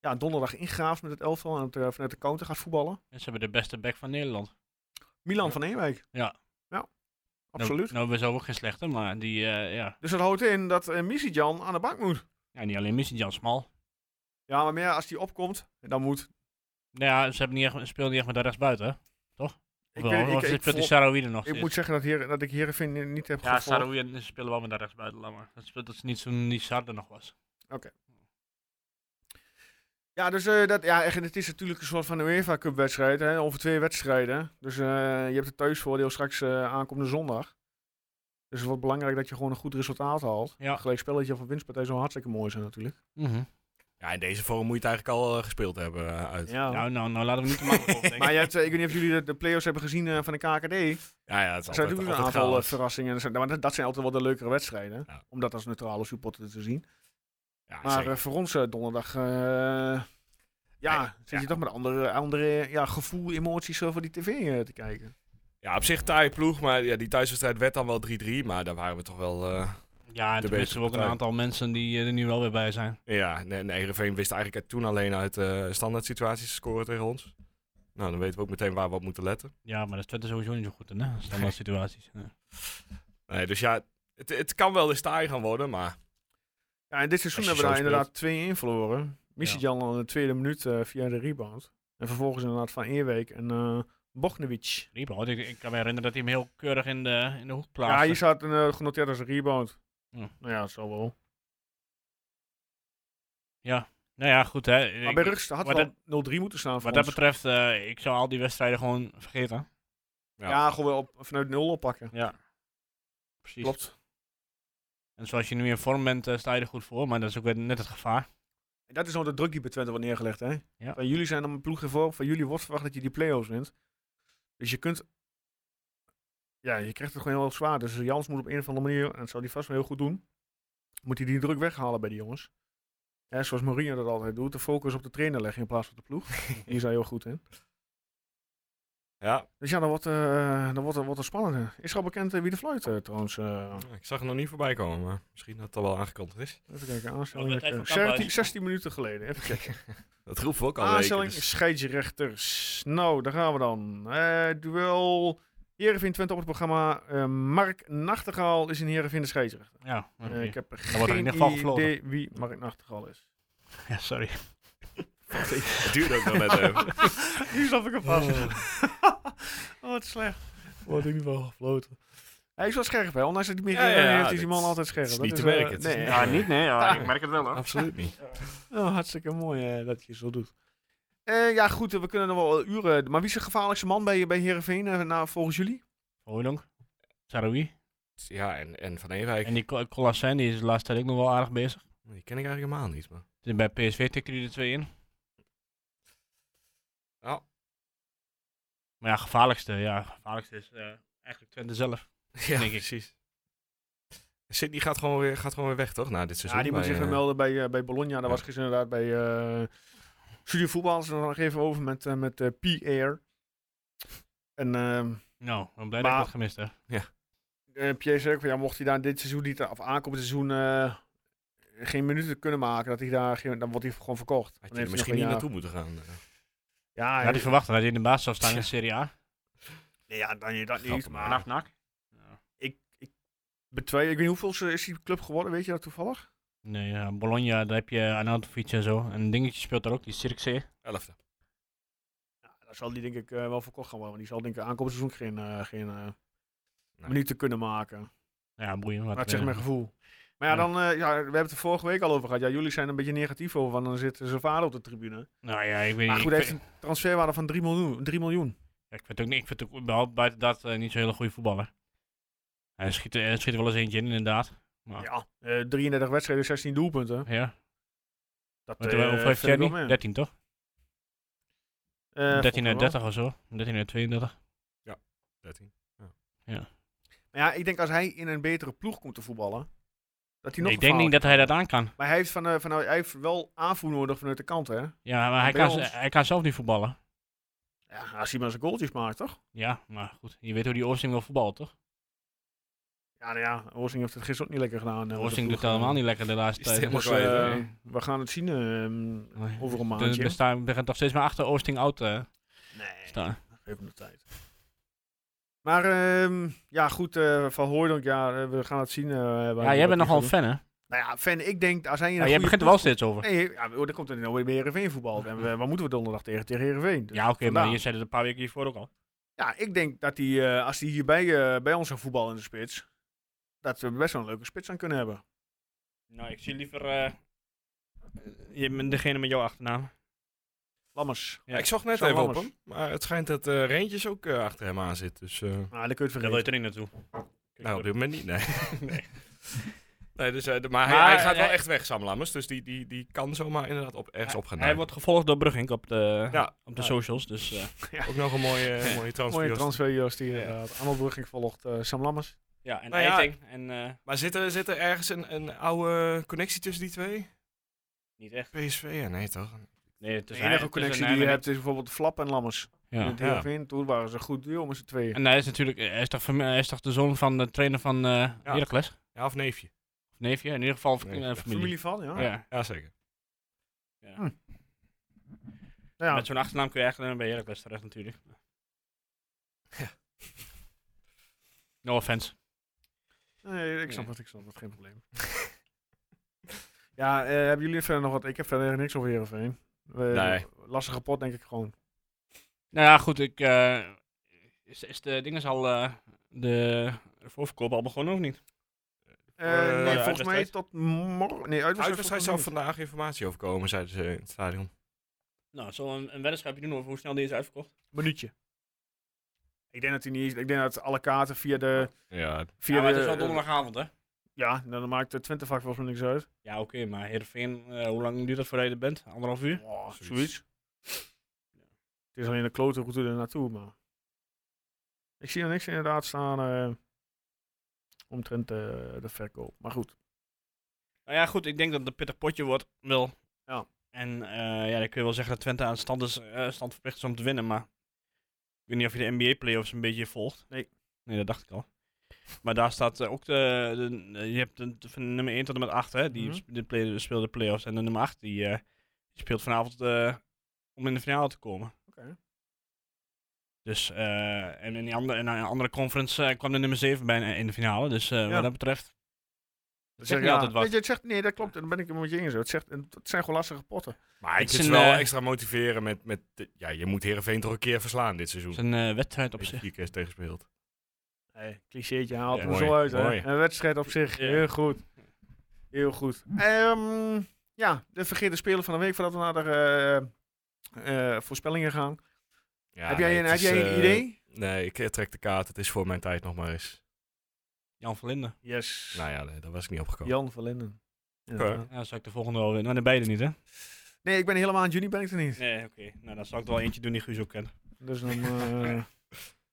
[SPEAKER 1] ja, donderdag ingraaft met het elftal en op de- vanuit de counter gaat voetballen.
[SPEAKER 5] En Ze hebben de beste back van Nederland. Nou,
[SPEAKER 1] Milan
[SPEAKER 5] Ja.
[SPEAKER 1] van Ewijk.
[SPEAKER 5] Ja.
[SPEAKER 1] Ja, absoluut.
[SPEAKER 5] Nou, nou we zijn ook geen slechte, maar die, eh, ja.
[SPEAKER 1] Dus dat houdt in dat eh Jan aan de bank moet.
[SPEAKER 5] ja, niet alleen Missie Jan Smal.
[SPEAKER 1] Ja, maar meer als die opkomt, dan moet...
[SPEAKER 5] Nou ja, ze hebben niet echt, spelen niet echt met de rechtsbuiten, hè? toch?
[SPEAKER 1] Ik,
[SPEAKER 5] Of wel,
[SPEAKER 1] weet- ik,
[SPEAKER 5] of
[SPEAKER 1] ik,
[SPEAKER 5] speelt die
[SPEAKER 1] volg-
[SPEAKER 5] Saroui er nog
[SPEAKER 1] ik moet zeggen dat, hier, dat ik Heerenveen niet heb
[SPEAKER 5] Ja,
[SPEAKER 1] gevolgd.
[SPEAKER 5] Saroui en ze spelen wel met de rechtsbuiten, laat maar. Dat speelt dat ze niet zo niet Sar er nog was.
[SPEAKER 1] Oké. Ja, dus eh, dat, ja, echt, en het is natuurlijk een soort van UEFA Cup wedstrijd, hè, over twee wedstrijden. Dus eh, je hebt het thuisvoordeel straks eh, aankomende zondag. Dus het wordt belangrijk dat je gewoon een goed resultaat haalt.
[SPEAKER 5] Ja.
[SPEAKER 1] Een gelijk spelletje of een winstpartij zou hartstikke mooi zijn natuurlijk.
[SPEAKER 4] Ja, in deze vorm moet je het eigenlijk al eh, gespeeld hebben eh, uit. Ja.
[SPEAKER 1] Ja.
[SPEAKER 5] Nou, nou, nou, laten we niet te makkelijk over denken.
[SPEAKER 1] Maar je hebt, eh, ik weet niet of jullie de, de play-offs hebben gezien eh, van de KKD.
[SPEAKER 4] Ja, het
[SPEAKER 1] Er
[SPEAKER 4] is
[SPEAKER 1] zijn
[SPEAKER 4] altijd,
[SPEAKER 1] natuurlijk een
[SPEAKER 4] altijd
[SPEAKER 1] aantal eh,
[SPEAKER 4] chaos.
[SPEAKER 1] verrassingen. Er zijn- Maar dat, dat zijn altijd wel de leukere wedstrijden.
[SPEAKER 4] Ja.
[SPEAKER 1] Om dat als neutrale supporter te zien.
[SPEAKER 4] Ja,
[SPEAKER 1] Maar
[SPEAKER 4] zeker.
[SPEAKER 1] eh, voor ons eh, donderdag... eh, ja,
[SPEAKER 4] Nee,
[SPEAKER 1] zit
[SPEAKER 4] ja.
[SPEAKER 1] je toch met andere, andere ja, gevoel, emoties eh, voor die tv eh, te kijken.
[SPEAKER 4] ja, op zich taaie ploeg, maar ja, die thuiswedstrijd werd dan wel 3-3, maar daar waren we toch wel... eh,
[SPEAKER 5] Ja, en
[SPEAKER 4] De
[SPEAKER 5] toen wisten we ook een
[SPEAKER 4] betere partij.
[SPEAKER 5] aantal mensen die eh, er nu wel weer bij zijn.
[SPEAKER 4] Ja, en en Heerenveen wist eigenlijk toen alleen uit eh standaard situaties te scoren tegen ons. Nou, dan weten we ook meteen waar we op moeten letten.
[SPEAKER 5] Ja, maar dat is Twente sowieso niet zo goed in, hè? Standaard situaties. Ja.
[SPEAKER 4] Nee, dus ja, het, het kan wel eens taai gaan worden, maar
[SPEAKER 1] Ja, en dit seizoen
[SPEAKER 4] Als je
[SPEAKER 1] hebben we daar
[SPEAKER 4] zo
[SPEAKER 1] inderdaad 2-1 verloren. Misitjan al in de tweede minuut eh, via de rebound. En vervolgens inderdaad Van Eerweek en eh Bognevic.
[SPEAKER 5] Rebound, ik, ik kan me herinneren dat hij hem heel keurig in de, in de hoek
[SPEAKER 1] Ja,
[SPEAKER 5] plaatste.
[SPEAKER 1] hier staat een, eh, genoteerd als een rebound.
[SPEAKER 5] Ja.
[SPEAKER 1] Nou ja, zo wel.
[SPEAKER 5] Nou ja, goed hè.
[SPEAKER 1] Maar
[SPEAKER 5] Ik-
[SPEAKER 1] bij Rugst had
[SPEAKER 5] wat
[SPEAKER 1] wel 0-3 moeten staan voor
[SPEAKER 5] Wat dat
[SPEAKER 1] ons.
[SPEAKER 5] betreft, eh, ik zou al die wedstrijden gewoon vergeten.
[SPEAKER 4] ja.
[SPEAKER 1] Ja, gewoon op, vanuit 0 oppakken.
[SPEAKER 5] Ja. Precies.
[SPEAKER 1] Klopt.
[SPEAKER 5] En zoals je nu in vorm bent, eh, sta je er goed voor, maar dat is ook weer net het gevaar.
[SPEAKER 1] En dat is nou de druk die bij Twente wordt neergelegd, hè?
[SPEAKER 5] Ja.
[SPEAKER 1] Van jullie zijn dan een ploeg ervoor. Van jullie wordt verwacht dat je die play-offs wint. Dus je kunt... Ja, je krijgt het gewoon heel erg zwaar. Dus Jans moet op een of andere manier, en dat zou hij vast wel heel goed doen, moet hij die druk weghalen bij die jongens. Hè, zoals Mourinho dat altijd doet, de focus op de trainer leggen in plaats van op de ploeg. Hier is hij heel goed in.
[SPEAKER 4] ja,
[SPEAKER 1] Dus ja, dan wordt, eh dan wordt, het- wordt het spannender. Is er al bekend eh, wie de fluit eh, trouwens? eh,
[SPEAKER 4] ik zag het nog niet voorbij komen, maar misschien dat het al wel aangekondigd is.
[SPEAKER 1] even kijken,
[SPEAKER 5] Wat
[SPEAKER 1] aanstelling.
[SPEAKER 5] werd hij van
[SPEAKER 1] 16,
[SPEAKER 5] Kamphuis?
[SPEAKER 1] 16 minuten geleden, even kijken.
[SPEAKER 4] Dat roepen we ook al
[SPEAKER 1] Aanstelling
[SPEAKER 4] weken, dus-
[SPEAKER 1] scheidsrechters. Nou, daar gaan we dan. Eh, duel Heerenveen Twente op het programma. Eh, Mark Nachtegaal is in Heerenveen de scheidsrechter.
[SPEAKER 5] Ja, oké.
[SPEAKER 1] Eh, ik heb geen
[SPEAKER 5] wordt er in ieder geval
[SPEAKER 1] idee
[SPEAKER 5] gefloten.
[SPEAKER 1] wie Mark Nachtegaal is.
[SPEAKER 5] ja sorry.
[SPEAKER 4] Het duurde ook nog net even.
[SPEAKER 1] Nu snap ik hem vast. oh, wat slecht.
[SPEAKER 4] Wordt in ieder geval gefloten.
[SPEAKER 1] Hij is wel scherp, hè? Ondanks dat hij meer
[SPEAKER 4] Ja, ja,
[SPEAKER 1] heeft,
[SPEAKER 4] ja,
[SPEAKER 1] is die
[SPEAKER 4] dat
[SPEAKER 1] man
[SPEAKER 4] is-
[SPEAKER 1] altijd scherp.
[SPEAKER 4] is
[SPEAKER 1] Dat
[SPEAKER 4] niet te merken,
[SPEAKER 1] eh,
[SPEAKER 4] het is
[SPEAKER 1] nee,
[SPEAKER 4] niet- Ja, niet,
[SPEAKER 5] nee, ja, ik merk het wel hoor.
[SPEAKER 4] Absoluut niet.
[SPEAKER 1] Oh, hartstikke mooi eh, dat je zo doet. Eh, ja, goed, eh, we kunnen nog wel uren. Maar wie is de gevaarlijkste man bij, bij Heerenveen eh, nou, volgens jullie?
[SPEAKER 5] Hoedonk, Saroui.
[SPEAKER 4] Ja, en, en Van Ewijk,
[SPEAKER 5] En die Col- Colasin, die is de laatste tijd ook nog wel aardig bezig.
[SPEAKER 4] die ken ik eigenlijk helemaal niet. Maar.
[SPEAKER 5] Dus Bij PSV tikte hij er twee in.
[SPEAKER 4] Nou,
[SPEAKER 5] Maar ja, gevaarlijkste, ja, gevaarlijkste is eh, eigenlijk Twente zelf.
[SPEAKER 4] ja,
[SPEAKER 5] Denk ik.
[SPEAKER 4] precies. Sydney gaat gewoon, weer, gaat gewoon weer weg, toch? Na dit
[SPEAKER 1] Ja,
[SPEAKER 4] seizoen.
[SPEAKER 1] die moet
[SPEAKER 4] bij,
[SPEAKER 1] zich weer
[SPEAKER 4] eh,
[SPEAKER 1] melden bij, eh, bij Bologna. Daar
[SPEAKER 4] ja.
[SPEAKER 1] was gisteren inderdaad bij eh Studio Voetbal. Ze nog even over met, eh, met eh Pierre. En ehm
[SPEAKER 5] Nou, ik ben blij
[SPEAKER 1] Maar-
[SPEAKER 5] dat ik dat gemist heb.
[SPEAKER 1] eh, Pierre zei ook van, ja, mocht hij daar dit seizoen niet, eh, of aankomend seizoen, eh, geen minuten kunnen maken, dat hij daar, geen- dan wordt hij gewoon verkocht.
[SPEAKER 4] Had
[SPEAKER 1] Dan
[SPEAKER 4] je er
[SPEAKER 1] heeft hij
[SPEAKER 4] misschien
[SPEAKER 1] nog
[SPEAKER 4] niet
[SPEAKER 1] een
[SPEAKER 4] naartoe moeten gaan. eh.
[SPEAKER 1] jaar-
[SPEAKER 5] Ja,
[SPEAKER 1] Ja,
[SPEAKER 5] had ik verwacht dat hij in de baas zou staan in de Serie A.
[SPEAKER 1] nee, ja, dan je dat niet.
[SPEAKER 4] Grappig,
[SPEAKER 1] Maar
[SPEAKER 4] maar-
[SPEAKER 5] nak.
[SPEAKER 1] betwij- ik weet niet hoeveel is die club geworden, weet je dat toevallig?
[SPEAKER 5] Nee, ja, Bologna, daar heb je Anatovic en zo. En een dingetje speelt daar ook, die Cirkzee.
[SPEAKER 4] eh, Elfde.
[SPEAKER 1] Dan zal die denk ik eh, wel verkocht gaan worden. Want die zal denk ik aankomend seizoen geen, eh, geen eh,
[SPEAKER 4] Nee.
[SPEAKER 1] minuten kunnen maken.
[SPEAKER 5] Ja, boeien. Wat,
[SPEAKER 1] Maar het zegt
[SPEAKER 5] eh,
[SPEAKER 1] mijn gevoel. Maar ja,
[SPEAKER 5] Ja.
[SPEAKER 1] dan, eh, ja, we hebben het er vorige week al over gehad. Ja, jullie zijn er een beetje negatief over, want dan zit zijn vader op de tribune.
[SPEAKER 5] Nou ja, ik weet
[SPEAKER 1] Maar
[SPEAKER 5] niet,
[SPEAKER 1] goed,
[SPEAKER 5] ik
[SPEAKER 1] hij heeft
[SPEAKER 5] vind-
[SPEAKER 1] een transferwaarde van 3 miljoen. 3 miljoen.
[SPEAKER 5] Ja, ik vind het ook niet. Ik vind het ook überhaupt buiten dat eh, niet zo'n hele goede voetballer. Hij schiet, er- hij schiet er wel eens eentje in, inderdaad. Maar, ja.
[SPEAKER 1] Ja, eh, 33 wedstrijden, 16 doelpunten. Dat
[SPEAKER 5] Want,
[SPEAKER 1] eh,
[SPEAKER 5] eh, hoeveel heeft
[SPEAKER 1] vind ik wel
[SPEAKER 5] Jenny?
[SPEAKER 1] mee.
[SPEAKER 5] 13 toch?
[SPEAKER 1] Eh,
[SPEAKER 5] 13
[SPEAKER 1] volgens mij
[SPEAKER 5] uit
[SPEAKER 1] wel.
[SPEAKER 5] 30 of zo. 13 uit 32.
[SPEAKER 4] 13.
[SPEAKER 1] Maar ja, ik denk als hij in een betere ploeg komt te voetballen, dat hij nog
[SPEAKER 5] ik denk niet dat hij dat aan kan.
[SPEAKER 1] Maar hij heeft, van, eh, van, hij heeft wel aanvoer nodig vanuit de kant, hè?
[SPEAKER 5] Ja, maar hij
[SPEAKER 1] bij
[SPEAKER 5] kan,
[SPEAKER 1] ons-
[SPEAKER 5] z- hij kan zelf niet voetballen.
[SPEAKER 1] Ja, als hij maar zijn goaltjes maakt, toch?
[SPEAKER 5] Ja, maar goed. Je weet hoe die Oosting wil voetballen, toch?
[SPEAKER 1] Ja, nou ja, Oosting heeft het gisteren ook niet lekker gedaan. eh, met de
[SPEAKER 5] Oosting doet
[SPEAKER 1] ploeg,
[SPEAKER 5] het
[SPEAKER 1] eh.
[SPEAKER 5] helemaal niet lekker de laatste
[SPEAKER 4] Is het
[SPEAKER 5] tijd.
[SPEAKER 4] helemaal
[SPEAKER 1] Dus, eh,
[SPEAKER 4] kwijt, hè?
[SPEAKER 1] we gaan het zien eh,
[SPEAKER 5] Nee.
[SPEAKER 1] over een
[SPEAKER 5] Dus
[SPEAKER 1] maandje.
[SPEAKER 5] we staan- we beginnen toch steeds maar achter Oosting oud te
[SPEAKER 1] Nee.
[SPEAKER 5] staan.
[SPEAKER 1] Geef hem de tijd. Maar ehm, ja, goed, eh, Van Hooydonk, ja, eh, we gaan het zien. eh, waar-
[SPEAKER 5] Ja,
[SPEAKER 1] wat
[SPEAKER 5] jij
[SPEAKER 1] hij
[SPEAKER 5] bent nogal
[SPEAKER 1] gaat
[SPEAKER 5] een fan, hè?
[SPEAKER 1] doen. Nou ja, fan, ik denk, als hij... in
[SPEAKER 5] Ja,
[SPEAKER 1] een
[SPEAKER 5] jij
[SPEAKER 1] goede
[SPEAKER 5] begint er wel
[SPEAKER 1] ploeg-
[SPEAKER 5] steeds over.
[SPEAKER 1] Nee, ja, maar er komt er nou weer bij Heerenveen voetbal. En we- waar moeten we donderdag tegen? Tegen Heerenveen. Dus
[SPEAKER 5] Ja, oké, maar
[SPEAKER 1] vandaar.
[SPEAKER 5] je zei het een paar weken hiervoor ook al.
[SPEAKER 1] Ja, ik denk dat hij, eh, als hij hier bij, eh, bij ons een voetbal in de spits, dat we best wel een leuke spits aan kunnen hebben.
[SPEAKER 5] Nou, ik zie liever... eh, je bent degene met jouw achternaam.
[SPEAKER 1] Lammers.
[SPEAKER 5] Ja,
[SPEAKER 4] ik zag net
[SPEAKER 1] Sam
[SPEAKER 4] even op
[SPEAKER 1] Lammers.
[SPEAKER 4] hem. Maar het schijnt dat eh Reentjes ook eh, achter hem aan zit. Dus eh,
[SPEAKER 1] Nou, daar kun je het
[SPEAKER 5] Daar wil je
[SPEAKER 1] vergeten.
[SPEAKER 5] toch niet naartoe?
[SPEAKER 4] nou, op dit moment niet. Nee. nee. nee dus, eh, de- maar,
[SPEAKER 5] Maar
[SPEAKER 4] hij, hij gaat wel
[SPEAKER 5] hij-
[SPEAKER 4] echt weg, Sam Lammers. Dus die, die, die kan zomaar inderdaad op, ergens
[SPEAKER 5] hij,
[SPEAKER 4] opgaan.
[SPEAKER 5] hij wordt gevolgd door Brugink op de,
[SPEAKER 4] Ja.
[SPEAKER 5] op de
[SPEAKER 1] Ja.
[SPEAKER 5] socials. Dus, eh,
[SPEAKER 4] ook nog een mooie, eh, mooie transfer.
[SPEAKER 1] Mooie transfer, Joost. Die eh,
[SPEAKER 5] Ja.
[SPEAKER 1] inderdaad. Arnold Brugging volgt eh, Sam Lammers.
[SPEAKER 5] ja, en
[SPEAKER 4] Nou ja.
[SPEAKER 5] Eiting. En eh,
[SPEAKER 4] Maar zit er, zit er ergens een, een oude connectie tussen die twee?
[SPEAKER 5] niet echt.
[SPEAKER 4] PSV? Ja, nee toch?
[SPEAKER 5] Nee, het
[SPEAKER 1] De
[SPEAKER 5] is
[SPEAKER 1] enige connectie die je hebt is bijvoorbeeld Flap en Lammers. In het Heerenveen, Toen waren ze goed duo met z'n tweeën.
[SPEAKER 5] En hij is natuurlijk hij is toch, fami- hij is toch de zoon van de trainer van eh Heracles? Of
[SPEAKER 4] Ja, of neefje?
[SPEAKER 5] neefje? In ieder geval eh,
[SPEAKER 4] Nee,
[SPEAKER 5] familie. Oh,
[SPEAKER 1] Familie van, ja.
[SPEAKER 5] Ja. Ja.
[SPEAKER 4] Ja, zeker.
[SPEAKER 1] Ja.
[SPEAKER 5] Met zo'n achternaam kun je eigenlijk alleen maar bij Heracles terecht natuurlijk.
[SPEAKER 4] Ja.
[SPEAKER 5] No offense.
[SPEAKER 1] Nee, ik snap
[SPEAKER 5] Nee.
[SPEAKER 1] het, ik snap het, geen probleem. ja, eh, hebben jullie verder nog wat? Ik heb verder niks over Heerenveen. We-
[SPEAKER 4] Nee.
[SPEAKER 1] Lastige pot, denk ik gewoon.
[SPEAKER 5] Nou ja, goed. Ik, eh, is, is de ding is al eh, de voorverkoop al begonnen of niet?
[SPEAKER 1] Eh, nee,
[SPEAKER 5] de
[SPEAKER 4] Eh,
[SPEAKER 1] volgens mij
[SPEAKER 5] uitwedstrijd?
[SPEAKER 1] tot morgen. Nee, uitwedstrijd.
[SPEAKER 4] Uitwedstrijd zou
[SPEAKER 1] volgens mij
[SPEAKER 4] vandaag informatie over komen, zeiden ze in het stadion.
[SPEAKER 5] Nou, zullen we een, een weddenschapje doen over hoe snel die is uitverkocht?
[SPEAKER 1] niet. minuutje. Ik denk dat hij niet is. Ik denk dat alle kaarten via de.
[SPEAKER 4] Ja,
[SPEAKER 1] Via
[SPEAKER 5] ja, maar
[SPEAKER 1] de,
[SPEAKER 5] het is wel
[SPEAKER 1] eh,
[SPEAKER 5] donderdagavond, hè?
[SPEAKER 1] ja, dan maakt de 20 vak volgens mij niks uit.
[SPEAKER 5] Ja, oké, maar Heerenveen, eh, hoe lang duurt dat voordat je er bent? Anderhalf uur?
[SPEAKER 1] Oh, zoiets.
[SPEAKER 4] zoiets.
[SPEAKER 1] Het is alleen een klote route er naartoe, maar. Ik zie er niks inderdaad staan. eh, omtrent eh, de verkoop. Maar goed.
[SPEAKER 5] Nou ja, goed, ik denk dat het een pittig potje wordt, wel.
[SPEAKER 1] Ja.
[SPEAKER 5] En eh, ja, dan kun je wel zeggen dat Twente aan stand, is, eh, stand verplicht is om te winnen, maar ik weet niet of je de NBA playoffs een beetje volgt.
[SPEAKER 1] Nee.
[SPEAKER 5] Nee, dat dacht ik al. Maar daar staat eh, ook de, de- eh, je hebt de, de- van nummer 1 tot en met 8, hè, die
[SPEAKER 1] Mhm.
[SPEAKER 5] sp- de play, speelde de playoffs. En de nummer 8, die, eh, die speelt vanavond eh, om in de finale te komen.
[SPEAKER 1] Oké.
[SPEAKER 5] Dus, eh, en in die andere, en in een andere conference eh, kwam de nummer 7 bijna in de finale. Dus eh, wat dat betreft,
[SPEAKER 1] Zeg
[SPEAKER 5] dat zegt niet
[SPEAKER 1] ja,
[SPEAKER 5] altijd wat.
[SPEAKER 1] Weet je, het zegt, nee, dat klopt. Dan ben ik het met je eens. Het, zegt, het zijn gewoon lastige potten.
[SPEAKER 4] Maar ik
[SPEAKER 5] Het is
[SPEAKER 4] vind het
[SPEAKER 5] een,
[SPEAKER 4] wel
[SPEAKER 5] eh,
[SPEAKER 4] extra motiveren met, met... de- Ja, je moet Heerenveen toch een keer verslaan dit seizoen.
[SPEAKER 5] Het is een eh, wedstrijd op
[SPEAKER 4] Als je
[SPEAKER 5] zich.
[SPEAKER 4] vier keer tegenspeelt.
[SPEAKER 1] Nee, clichéetje haalt
[SPEAKER 5] Ja.
[SPEAKER 1] hem zo
[SPEAKER 4] Mooi,
[SPEAKER 1] uit. Hè?
[SPEAKER 4] mooi.
[SPEAKER 1] Een wedstrijd op zich.
[SPEAKER 5] Ja.
[SPEAKER 1] Heel goed. Heel goed. Ehm, ja, de vergeerde speler van de week voordat we naar de eh, eh, voorspellingen gaan.
[SPEAKER 4] Ja,
[SPEAKER 1] heb jij,
[SPEAKER 4] nee,
[SPEAKER 1] een,
[SPEAKER 4] het
[SPEAKER 1] heb
[SPEAKER 4] is,
[SPEAKER 1] jij een
[SPEAKER 4] eh,
[SPEAKER 1] idee?
[SPEAKER 4] Nee, ik eh, trek de kaart. Het is voor mijn tijd nog maar eens.
[SPEAKER 5] Jan van Linden.
[SPEAKER 1] Yes.
[SPEAKER 4] Nou ja, nee, daar was ik niet opgekomen.
[SPEAKER 1] Jan van Linden. Inderdaad.
[SPEAKER 5] Ja, dan zou ik de volgende wel winnen. Maar de beide niet, hè?
[SPEAKER 1] Nee, ik ben helemaal aan juni ben ik er niet.
[SPEAKER 5] Nee, oké. Nou, dan zal ik er wel eentje doen die Guus ook kent.
[SPEAKER 1] Dus dan...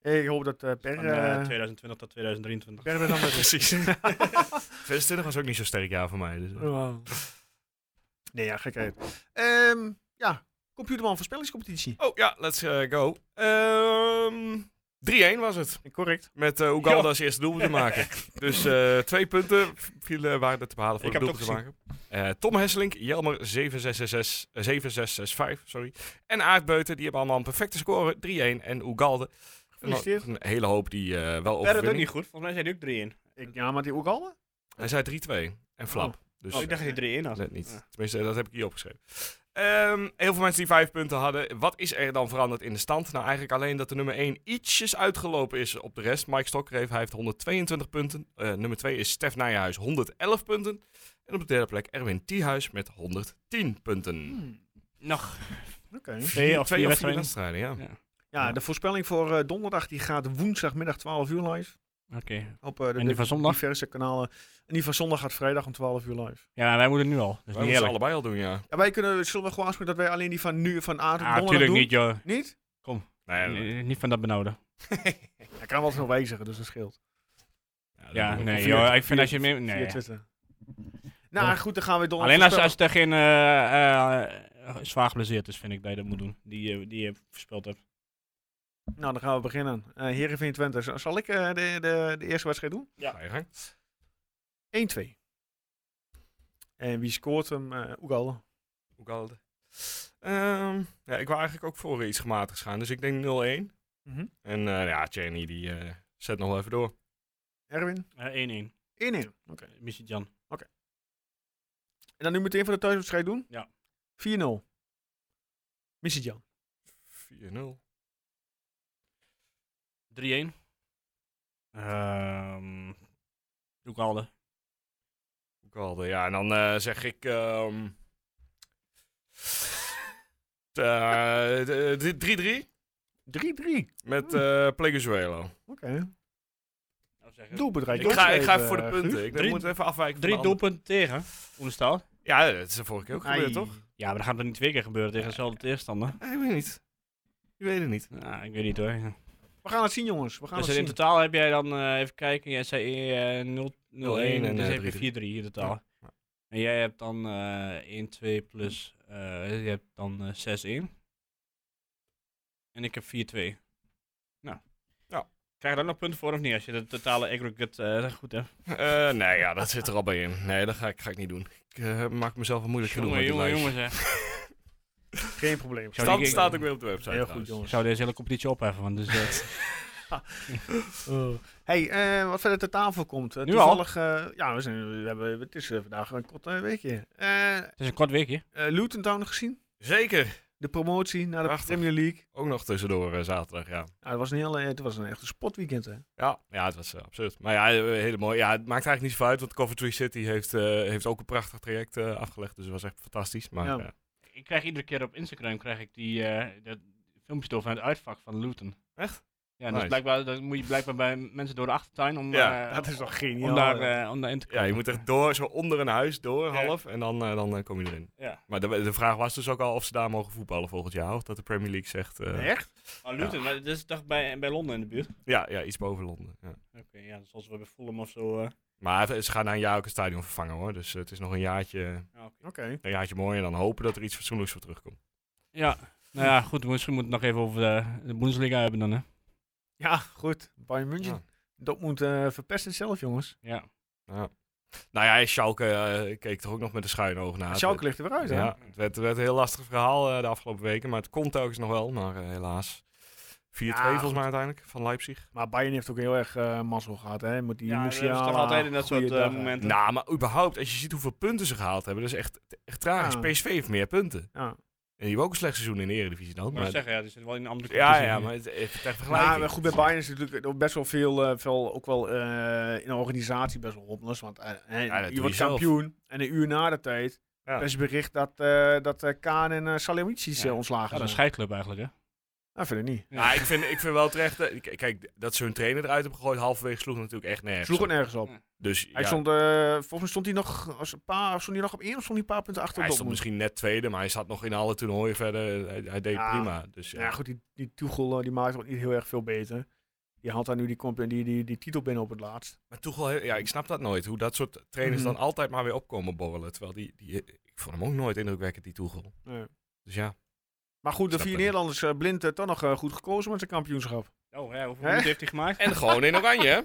[SPEAKER 1] eh, ik hoop dat eh Per...
[SPEAKER 5] Van
[SPEAKER 1] eh,
[SPEAKER 5] eh, 2020 tot 2023.
[SPEAKER 1] per weer dan met
[SPEAKER 4] Precies. 2020 was ook niet zo'n sterk jaar voor mij. Dus, eh.
[SPEAKER 1] Nee, ja, gekheid. Ehm ja, Computerman voorspellingscompetitie.
[SPEAKER 4] Oh ja, let's eh, go. Ehm 3-1 was het.
[SPEAKER 1] Correct.
[SPEAKER 4] Met eh
[SPEAKER 5] Ja.
[SPEAKER 4] Oeganda als eerste doel te maken. Dus eh, twee punten vielen, waren er te behalen voor
[SPEAKER 5] Ik
[SPEAKER 4] de
[SPEAKER 5] heb
[SPEAKER 4] doel
[SPEAKER 5] het
[SPEAKER 4] te
[SPEAKER 5] ook
[SPEAKER 4] maken. Eh, Tom Hesselink, Jelmer 7666, eh, 7665 sorry. en Aardbeuten. Die hebben allemaal een perfecte score. 3-1 en Oegalde.
[SPEAKER 1] Gefeliciteerd.
[SPEAKER 4] Een hele hoop die eh, wel
[SPEAKER 5] Per dat ook
[SPEAKER 4] overwinning.
[SPEAKER 5] niet goed. Volgens mij zijn die ook 3 in.
[SPEAKER 1] Ik, ja, maar die ook al?
[SPEAKER 4] Hij zei 3-2 en flap. Dus
[SPEAKER 5] Oh, ik dacht dat hij 3 in had.
[SPEAKER 4] net niet.
[SPEAKER 5] Ja.
[SPEAKER 4] Tenminste, dat heb ik hier opgeschreven. Ehm, heel veel mensen die vijf punten hadden. Wat is er dan veranderd in de stand? Nou, eigenlijk alleen dat de nummer 1 ietsjes uitgelopen is op de rest. Mike Stokker heeft, hij heeft 122 punten. Eh, nummer 2 is Stef Nijhuis, 111 punten. En op de derde plek Erwin Thiehuis met 110 punten.
[SPEAKER 5] Nog
[SPEAKER 1] Oké.
[SPEAKER 5] twee of
[SPEAKER 4] Twee
[SPEAKER 5] vier
[SPEAKER 4] of vier
[SPEAKER 5] wedstrijden.
[SPEAKER 4] wedstrijden, ja.
[SPEAKER 5] Ja.
[SPEAKER 1] Ja, de voorspelling voor eh, donderdag die gaat woensdagmiddag 12 uur live.
[SPEAKER 5] Oké.
[SPEAKER 1] Op eh, de
[SPEAKER 5] En die van zondag?
[SPEAKER 1] diverse kanalen. En die van zondag gaat vrijdag om 12 uur live.
[SPEAKER 5] Ja, maar wij moeten nu al. Dat is
[SPEAKER 4] Wij
[SPEAKER 5] niet
[SPEAKER 4] moeten ze
[SPEAKER 5] eerlijk.
[SPEAKER 4] allebei al doen, ja.
[SPEAKER 1] Ja, wij kunnen, zullen we gewoon afspreken dat wij alleen die van nu van aard
[SPEAKER 5] Ah,
[SPEAKER 1] donderdag
[SPEAKER 5] natuurlijk
[SPEAKER 1] doen?
[SPEAKER 5] niet, joh.
[SPEAKER 1] Niet?
[SPEAKER 4] Nee,
[SPEAKER 5] Nee, Niet van dat benauwde.
[SPEAKER 1] Hij kan wel eens nog wijzigen, dus dat scheelt.
[SPEAKER 4] dat
[SPEAKER 5] Ja,
[SPEAKER 4] doen we
[SPEAKER 5] nee,
[SPEAKER 4] ook.
[SPEAKER 5] joh. Ik vind als je meer...
[SPEAKER 1] Via
[SPEAKER 5] Nee.
[SPEAKER 1] Twitter. Nou, goed, dan gaan we door.
[SPEAKER 5] Alleen als, als het tegen eh eh zwaar geblesseerd is, vind ik dat je dat moet doen. Die, eh, die je verspeeld hebt.
[SPEAKER 1] Nou, dan gaan we beginnen. Eh Heerenveen Twente. Z- Zal ik eh, de, de, de eerste wedstrijd doen?
[SPEAKER 4] Ga je gang.
[SPEAKER 1] 1-2. En wie scoort hem? eh Oegal.
[SPEAKER 4] Ook al. Ehm, ja, ik wou eigenlijk ook voor iets gematigs gaan, dus ik denk 0-1.
[SPEAKER 1] Mhm.
[SPEAKER 4] En eh, ja, Cheney die eh, zet nog wel even door.
[SPEAKER 1] Erwin?
[SPEAKER 5] Eh, 1-1.
[SPEAKER 1] 1-1. Oké.
[SPEAKER 5] Missie Jan.
[SPEAKER 1] En dan nu meteen voor de thuiswedstrijd doen?
[SPEAKER 5] Ja.
[SPEAKER 1] 4-0. Missie Jan.
[SPEAKER 4] 4-0.
[SPEAKER 5] 3-1. Ehm Doe al de.
[SPEAKER 4] Ook al. Ja, en dan eh, zeg ik ehm, Eh, d- eh, 3-3
[SPEAKER 1] 3-3.
[SPEAKER 4] met eh Pleguezuelo.
[SPEAKER 1] Oké.
[SPEAKER 5] Nou,
[SPEAKER 1] Doelbedrijf.
[SPEAKER 4] Ik ga, ik ga even voor de
[SPEAKER 1] Eh,
[SPEAKER 4] punten.
[SPEAKER 1] Guus.
[SPEAKER 4] Ik
[SPEAKER 5] Drie-
[SPEAKER 4] moet even afwijken van
[SPEAKER 5] Drie
[SPEAKER 4] de ander.
[SPEAKER 5] doelpunten tegen Oenestal.
[SPEAKER 4] Ja, dat is de vorige keer ook gebeurd,
[SPEAKER 1] Ai.
[SPEAKER 4] toch?
[SPEAKER 5] Ja, maar dat gaat er niet twee keer gebeuren tegen dezelfde tegenstander.
[SPEAKER 4] Eh, Ik weet niet. Ik weet het niet.
[SPEAKER 5] Nou, ik weet niet hoor. Ja.
[SPEAKER 1] We gaan het zien, jongens. We gaan
[SPEAKER 5] Dus
[SPEAKER 1] het
[SPEAKER 5] in
[SPEAKER 1] zien.
[SPEAKER 5] totaal heb jij dan, eh, even kijken, jij zei eh 0
[SPEAKER 4] 0-1
[SPEAKER 5] 0-1
[SPEAKER 4] en,
[SPEAKER 5] en dus
[SPEAKER 4] eh,
[SPEAKER 5] heb je
[SPEAKER 4] 3-3.
[SPEAKER 5] 4-3 in totaal.
[SPEAKER 4] Ja.
[SPEAKER 5] En jij hebt dan eh 1-2 plus, eh, je hebt dan eh 6-1. En ik heb 4-2. Nou.
[SPEAKER 4] Ja.
[SPEAKER 5] Krijg je daar nog punten voor of niet als je de totale aggregate eh, goed hebt?
[SPEAKER 4] Eh, nee, ja, dat zit er al bij in. Nee, dat ga ik, ga ik niet doen. Ik eh, maak mezelf wel moeilijk genoeg
[SPEAKER 5] Jongen,
[SPEAKER 4] met dit
[SPEAKER 5] jongen,
[SPEAKER 4] lijstje.
[SPEAKER 5] jongen zeg.
[SPEAKER 1] Geen probleem.
[SPEAKER 5] Zou
[SPEAKER 4] Stand
[SPEAKER 5] die-
[SPEAKER 4] staat ook weer op de website.
[SPEAKER 1] Heel goed,
[SPEAKER 4] trouwens.
[SPEAKER 5] Ik
[SPEAKER 1] jongens.
[SPEAKER 5] zou deze hele competitie opheffen, want dus, eh,
[SPEAKER 1] Hey, eh, wat verder ter tafel komt. eh,
[SPEAKER 5] Nu al?
[SPEAKER 1] toevallig, eh, ja, we zijn, we hebben, het is eh, vandaag een kort eh, weekje. Eh eh,
[SPEAKER 5] het is een kort weekje.
[SPEAKER 1] Luton Town nog gezien.
[SPEAKER 4] Zeker.
[SPEAKER 1] De promotie naar de
[SPEAKER 4] Prachtig.
[SPEAKER 1] Premier League.
[SPEAKER 4] Ook nog tussendoor eh, zaterdag, ja.
[SPEAKER 1] Nou, dat was een hele, het was een echt een spotweekend, hè.
[SPEAKER 4] Ja, ja het was eh, absurd. Maar ja, eh, hele mooi. Ja, het maakt eigenlijk niet zoveel uit, want Coventry City heeft, eh, heeft ook een prachtig traject eh, afgelegd. Dus het was echt fantastisch. Maar
[SPEAKER 1] Ja.
[SPEAKER 4] eh,
[SPEAKER 5] Ik krijg iedere keer op Instagram krijg ik die eh, dat filmpjes door van het uitvak van Luton.
[SPEAKER 4] Echt?
[SPEAKER 5] Ja, dat
[SPEAKER 4] Nice.
[SPEAKER 5] is blijkbaar, dan moet je blijkbaar bij mensen door de achtertuin om,
[SPEAKER 4] Ja,
[SPEAKER 5] eh,
[SPEAKER 1] dat is toch geniaal.
[SPEAKER 5] om, daar,
[SPEAKER 1] hè?
[SPEAKER 5] eh, om daarin te komen.
[SPEAKER 4] ja, je moet echt door, zo onder een huis, door
[SPEAKER 5] Ja.
[SPEAKER 4] half. En dan, eh, dan eh, kom je erin.
[SPEAKER 5] Ja.
[SPEAKER 4] Maar de, de vraag was dus ook al of ze daar mogen voetballen volgend jaar. Of dat de Premier League zegt. eh,
[SPEAKER 1] echt?
[SPEAKER 5] Maar Luton, maar dat is toch bij, bij Londen in de buurt? Oké,
[SPEAKER 4] ja, ja, iets boven Londen. Ja.
[SPEAKER 5] ja, zoals we bij Fulham of zo. eh.
[SPEAKER 4] Maar ze gaan na een jaar ook een stadion vervangen hoor. Dus eh, het is nog een jaartje,
[SPEAKER 5] Ja, oké.
[SPEAKER 1] Oké.
[SPEAKER 4] een jaartje mooi. En dan hopen dat er iets fatsoenlijks voor terugkomt.
[SPEAKER 5] ja, nou ja, goed, misschien moeten we het nog even over de, de Bundesliga hebben dan, hè?
[SPEAKER 1] Ja, goed. Bayern München.
[SPEAKER 4] Ja.
[SPEAKER 1] Dat moet eh verpest het zelf, jongens.
[SPEAKER 5] Ja.
[SPEAKER 4] Ja. Nou ja, Schalke eh, keek er ook nog met een schuin oog naar.
[SPEAKER 1] Schalke ligt er weer uit, hè?
[SPEAKER 4] Ja, het werd, het werd een heel lastig verhaal eh, de afgelopen weken, maar het komt telkens nog wel, maar eh, helaas. 4-2 volgens
[SPEAKER 1] goed.
[SPEAKER 4] mij uiteindelijk van Leipzig.
[SPEAKER 1] Maar Bayern heeft ook heel erg eh mazzel gehad, hè? Met die
[SPEAKER 5] ja, dat is
[SPEAKER 1] Musiala,
[SPEAKER 5] toch altijd in dat soort eh,
[SPEAKER 1] goeiedag, hè.
[SPEAKER 5] momenten.
[SPEAKER 4] Nou, maar überhaupt, als je ziet hoeveel punten ze gehaald hebben, dat is echt, echt tragisch.
[SPEAKER 1] Ja.
[SPEAKER 4] PSV heeft meer punten. En
[SPEAKER 1] Ja.
[SPEAKER 4] die hebben ook een slecht seizoen in de Eredivisie dan.
[SPEAKER 5] ik wou
[SPEAKER 4] Maar
[SPEAKER 5] zeggen, ja, die zit wel in een andere
[SPEAKER 4] ja,
[SPEAKER 5] competitie.
[SPEAKER 4] ja, maar het, het, ter
[SPEAKER 1] Maar
[SPEAKER 4] vergelijking.
[SPEAKER 1] Nou, goed, bij Bayern is natuurlijk ook best wel veel, eh, veel ook wel eh, in de organisatie best wel rommelig. Want eh, eh,
[SPEAKER 4] Ja, dat doe
[SPEAKER 1] je
[SPEAKER 4] je
[SPEAKER 1] wordt
[SPEAKER 4] zelf.
[SPEAKER 1] kampioen en een uur na de tijd
[SPEAKER 4] Ja.
[SPEAKER 1] is bericht dat, eh dat eh, Kaan en eh Salihamidzic,
[SPEAKER 5] Ja.
[SPEAKER 1] eh, ontslagen
[SPEAKER 5] Ja, dat is een
[SPEAKER 1] zijn.
[SPEAKER 5] scheidclub eigenlijk, hè?
[SPEAKER 1] Ah, verder niet.
[SPEAKER 4] Nou, ik, vind, ik vind wel terecht, eh, k- kijk, dat ze hun trainer eruit hebben gegooid, halverwege sloeg natuurlijk echt nergens.
[SPEAKER 1] Sloeg
[SPEAKER 4] op.
[SPEAKER 1] het nergens op.
[SPEAKER 4] Dus
[SPEAKER 1] Hij
[SPEAKER 4] ja,
[SPEAKER 1] stond, eh, volgens mij stond hij nog, als een paar, stond hij nog op één of stond hij een paar punten achter
[SPEAKER 4] hij
[SPEAKER 1] op
[SPEAKER 4] stond
[SPEAKER 1] Dortmund?
[SPEAKER 4] misschien net tweede, maar hij zat nog in alle toernooien verder. Hij, hij deed
[SPEAKER 1] Ja.
[SPEAKER 4] prima. Dus ja,
[SPEAKER 1] Ja, goed, die, die Tuchel eh, die maakt het ook niet heel erg veel beter. Die haalt daar nu die, comp- die, die, die titel binnen op het laatst.
[SPEAKER 4] Maar toch wel, heel-
[SPEAKER 1] Mm.
[SPEAKER 4] ja, ik snap dat nooit. Hoe dat soort trainers
[SPEAKER 1] Mhm.
[SPEAKER 4] dan altijd maar weer opkomen borrelen. Terwijl die, die, eh, ik vond hem ook nooit indrukwekkend, die Toegel.
[SPEAKER 1] Nee.
[SPEAKER 4] Dus ja.
[SPEAKER 1] Maar goed, de
[SPEAKER 4] Snap
[SPEAKER 1] vier
[SPEAKER 4] ik.
[SPEAKER 1] Nederlanders eh, blind eh, toch nog eh, goed gekozen met zijn kampioenschap.
[SPEAKER 5] Oh, ja, hoeveel
[SPEAKER 1] Hè?
[SPEAKER 5] punten heeft hij gemaakt?
[SPEAKER 4] En gewoon in oranje, hè?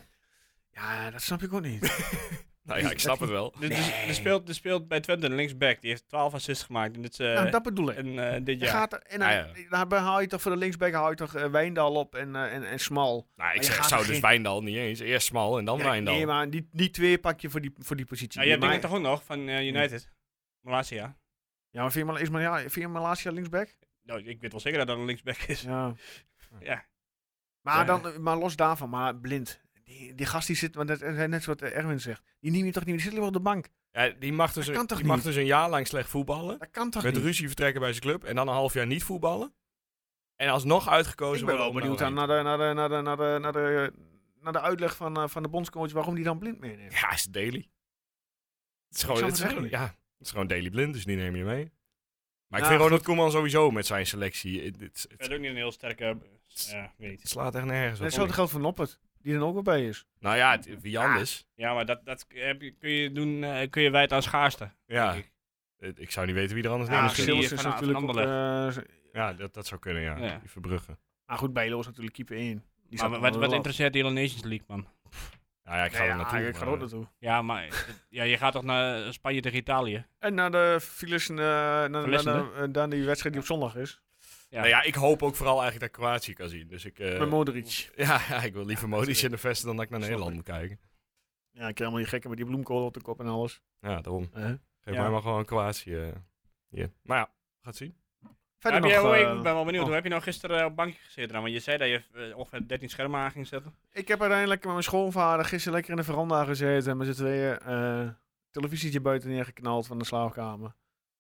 [SPEAKER 1] Ja, dat snap ik ook niet.
[SPEAKER 4] Nou ja, ik snap het wel.
[SPEAKER 5] Er- Er er Dus, speelt, er speelt bij Twente een linksback. Die heeft 12 assists gemaakt in dit, eh,
[SPEAKER 1] ja, Nou, dat bedoel ik.
[SPEAKER 5] en, eh, dit
[SPEAKER 1] Je
[SPEAKER 5] jaar.
[SPEAKER 1] gaat er- en dan,
[SPEAKER 4] Ah,
[SPEAKER 1] daarbij haal je toch voor de linksback haal je toch eh, Wijndal op en, eh, en, en Smal.
[SPEAKER 4] Nou, ik
[SPEAKER 1] je
[SPEAKER 4] zeg,
[SPEAKER 1] gaat
[SPEAKER 4] zou
[SPEAKER 1] er
[SPEAKER 4] dus
[SPEAKER 1] geen-
[SPEAKER 4] Wijndal niet eens. Eerst Smal en dan
[SPEAKER 1] Ja,
[SPEAKER 4] Wijndal.
[SPEAKER 1] Nee, maar die, die twee pak je voor die, voor die positie.
[SPEAKER 5] Nou, je hebt
[SPEAKER 1] maar,
[SPEAKER 5] dingen toch ook nog van eh, United. Malasia.
[SPEAKER 1] ja, maar vind je, Mal- is Mal- ja, vind je Malasia linksback?
[SPEAKER 5] Nou, ik weet wel zeker dat dat een linksback is.
[SPEAKER 1] Ja.
[SPEAKER 5] Ja.
[SPEAKER 1] Maar,
[SPEAKER 5] Ja.
[SPEAKER 1] Dan, maar los daarvan, maar blind. Die, die gast die zit, want dat is net wat eh, Erwin zegt. Die neem je toch niet, die zit liever op de bank.
[SPEAKER 4] Ja, die mag dus,
[SPEAKER 1] Dat
[SPEAKER 4] een,
[SPEAKER 1] kan toch
[SPEAKER 4] die mag
[SPEAKER 1] niet?
[SPEAKER 4] dus een jaar lang slecht voetballen.
[SPEAKER 1] Dat kan toch
[SPEAKER 4] met
[SPEAKER 1] niet?
[SPEAKER 4] ruzie vertrekken bij zijn club. En dan een half jaar niet voetballen. En alsnog uitgekozen
[SPEAKER 1] Ik ben wel
[SPEAKER 4] worden om
[SPEAKER 1] benieuwd
[SPEAKER 4] naar
[SPEAKER 1] aan naar de, naar de, naar de, naar de, naar de, naar de uitleg van, eh, van de bondscoach waarom die dan blind meeneemt.
[SPEAKER 4] Oranje. Ja, is daily. Het is gewoon,
[SPEAKER 1] snap
[SPEAKER 4] het is
[SPEAKER 1] het
[SPEAKER 4] gewoon-
[SPEAKER 1] echt
[SPEAKER 4] ja, het is gewoon daily blind, dus die neem je mee. Maar ik
[SPEAKER 1] Ja,
[SPEAKER 4] vind gewoon dat Koeman sowieso met zijn selectie... Het, het- het-
[SPEAKER 5] Ik ook niet een heel sterke... eh, Ja, weet
[SPEAKER 4] Het slaat echt nergens op.
[SPEAKER 1] En hetzelfde geldt voor Noppert, die er ook weer bij is.
[SPEAKER 4] Nou ja, het- wie anders.
[SPEAKER 5] Ja, maar dat, dat heb je- kun, je doen, eh, kun je wijten aan schaarste.
[SPEAKER 4] Ja.
[SPEAKER 5] denk ik.
[SPEAKER 4] Het- Ik zou niet weten wie er anders
[SPEAKER 5] Ja,
[SPEAKER 4] neemt.
[SPEAKER 5] misschien-
[SPEAKER 4] misschien.
[SPEAKER 1] Silvers Dus is
[SPEAKER 5] van- van
[SPEAKER 1] natuurlijk ook, eh,
[SPEAKER 4] Ja, dat, dat zou kunnen, ja.
[SPEAKER 5] Ja.
[SPEAKER 4] Die Verbrugge.
[SPEAKER 1] Maar goed, Bijlo is natuurlijk keeper 1. Die
[SPEAKER 5] Maar
[SPEAKER 1] staat
[SPEAKER 5] wat,
[SPEAKER 1] wel
[SPEAKER 5] wat
[SPEAKER 1] wel
[SPEAKER 5] interesseert die hele Nations League, man?
[SPEAKER 4] Nou ja, ik
[SPEAKER 1] af.
[SPEAKER 4] ga
[SPEAKER 1] Nee,
[SPEAKER 4] er
[SPEAKER 1] ja,
[SPEAKER 4] naartoe.
[SPEAKER 1] Ik ga er
[SPEAKER 4] maar-
[SPEAKER 1] ook naartoe.
[SPEAKER 5] Ja, maar het- ja, je gaat toch naar eh, Spanje tegen Italië?
[SPEAKER 1] En naar de files, eh, naar, naar,
[SPEAKER 5] Verlissende.
[SPEAKER 1] naar- eh, naar die wedstrijd die op zondag is.
[SPEAKER 5] Ja.
[SPEAKER 4] Nou ja, ik hoop ook vooral eigenlijk dat ik Kroatië kan zien. Dus ik, eh,
[SPEAKER 1] Met Modric.
[SPEAKER 4] ja, ja, ik wil liever Modric in de vesten dan dat ik naar
[SPEAKER 1] Snap
[SPEAKER 4] Nederland
[SPEAKER 1] ik.
[SPEAKER 4] moet kijken.
[SPEAKER 1] Ja, ik ken helemaal niet gekken met die bloemkool op de kop en alles.
[SPEAKER 4] Ja, daarom.
[SPEAKER 1] Eh.
[SPEAKER 4] Geef
[SPEAKER 5] Ja.
[SPEAKER 4] mij maar gewoon Kroatië. eh, hier. Maar ja, gaat zien.
[SPEAKER 1] Verder
[SPEAKER 5] heb
[SPEAKER 1] nog,
[SPEAKER 5] jij, oh,
[SPEAKER 1] eh,
[SPEAKER 5] ik ben wel benieuwd,
[SPEAKER 1] oh.
[SPEAKER 5] hoe heb je nou gisteren op bankje gezeten? dan? Want je zei dat je eh, ongeveer 13 schermen aan ging zetten.
[SPEAKER 1] ik heb uiteindelijk met mijn schoonvader gisteren lekker in de veranda gezeten. En we zitten weer eh televisietje buiten neergeknald van de slaapkamer.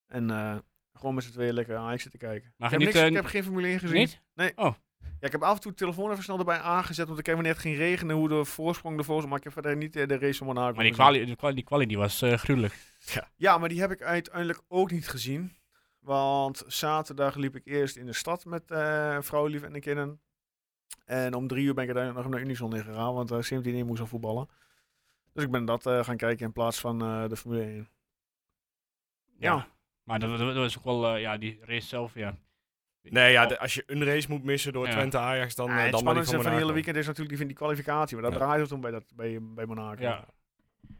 [SPEAKER 1] En eh, Gewoon met z'n tweeën lekker aan zitten kijken.
[SPEAKER 5] Maar
[SPEAKER 1] ik, heb
[SPEAKER 5] geniet,
[SPEAKER 1] niks,
[SPEAKER 5] eh,
[SPEAKER 1] ik heb geen Formule 1 gezien.
[SPEAKER 5] Niet? Oh.
[SPEAKER 1] Ja, ik heb af en toe de telefoon even snel erbij aangezet om te kijken wanneer het ging regenen, hoe de voorsprong ervoor was. Maar ik heb verder niet eh, de race van Monaco
[SPEAKER 5] Maar die
[SPEAKER 1] gezien.
[SPEAKER 5] kwalie, die kwalie, die kwalie die was eh, gruwelijk.
[SPEAKER 1] Ja, maar die heb ik uiteindelijk ook niet gezien. Want zaterdag liep ik eerst in de stad met eh vrouwlief en de kinderen. En om drie uur ben ik uiteindelijk nog naar Unison in gegaan, want uh, 17 moest al voetballen. Dus ik ben dat eh, gaan kijken in plaats van eh, de Formule 1. Ja.
[SPEAKER 5] Maar dat, dat, dat was ook wel, eh, ja, die race zelf, ja.
[SPEAKER 4] Nee, ja, de- als je een race moet missen door
[SPEAKER 5] Ja.
[SPEAKER 4] Twente Ajax, dan,
[SPEAKER 1] Ah,
[SPEAKER 4] eh,
[SPEAKER 1] het
[SPEAKER 4] dan maar die
[SPEAKER 1] spannendste
[SPEAKER 4] van
[SPEAKER 1] van het hele
[SPEAKER 4] Monaco.
[SPEAKER 1] weekend is natuurlijk die, vind die kwalificatie, maar dat
[SPEAKER 4] Ja.
[SPEAKER 1] draait het om bij, dat, bij, bij Monaco.
[SPEAKER 5] Ja.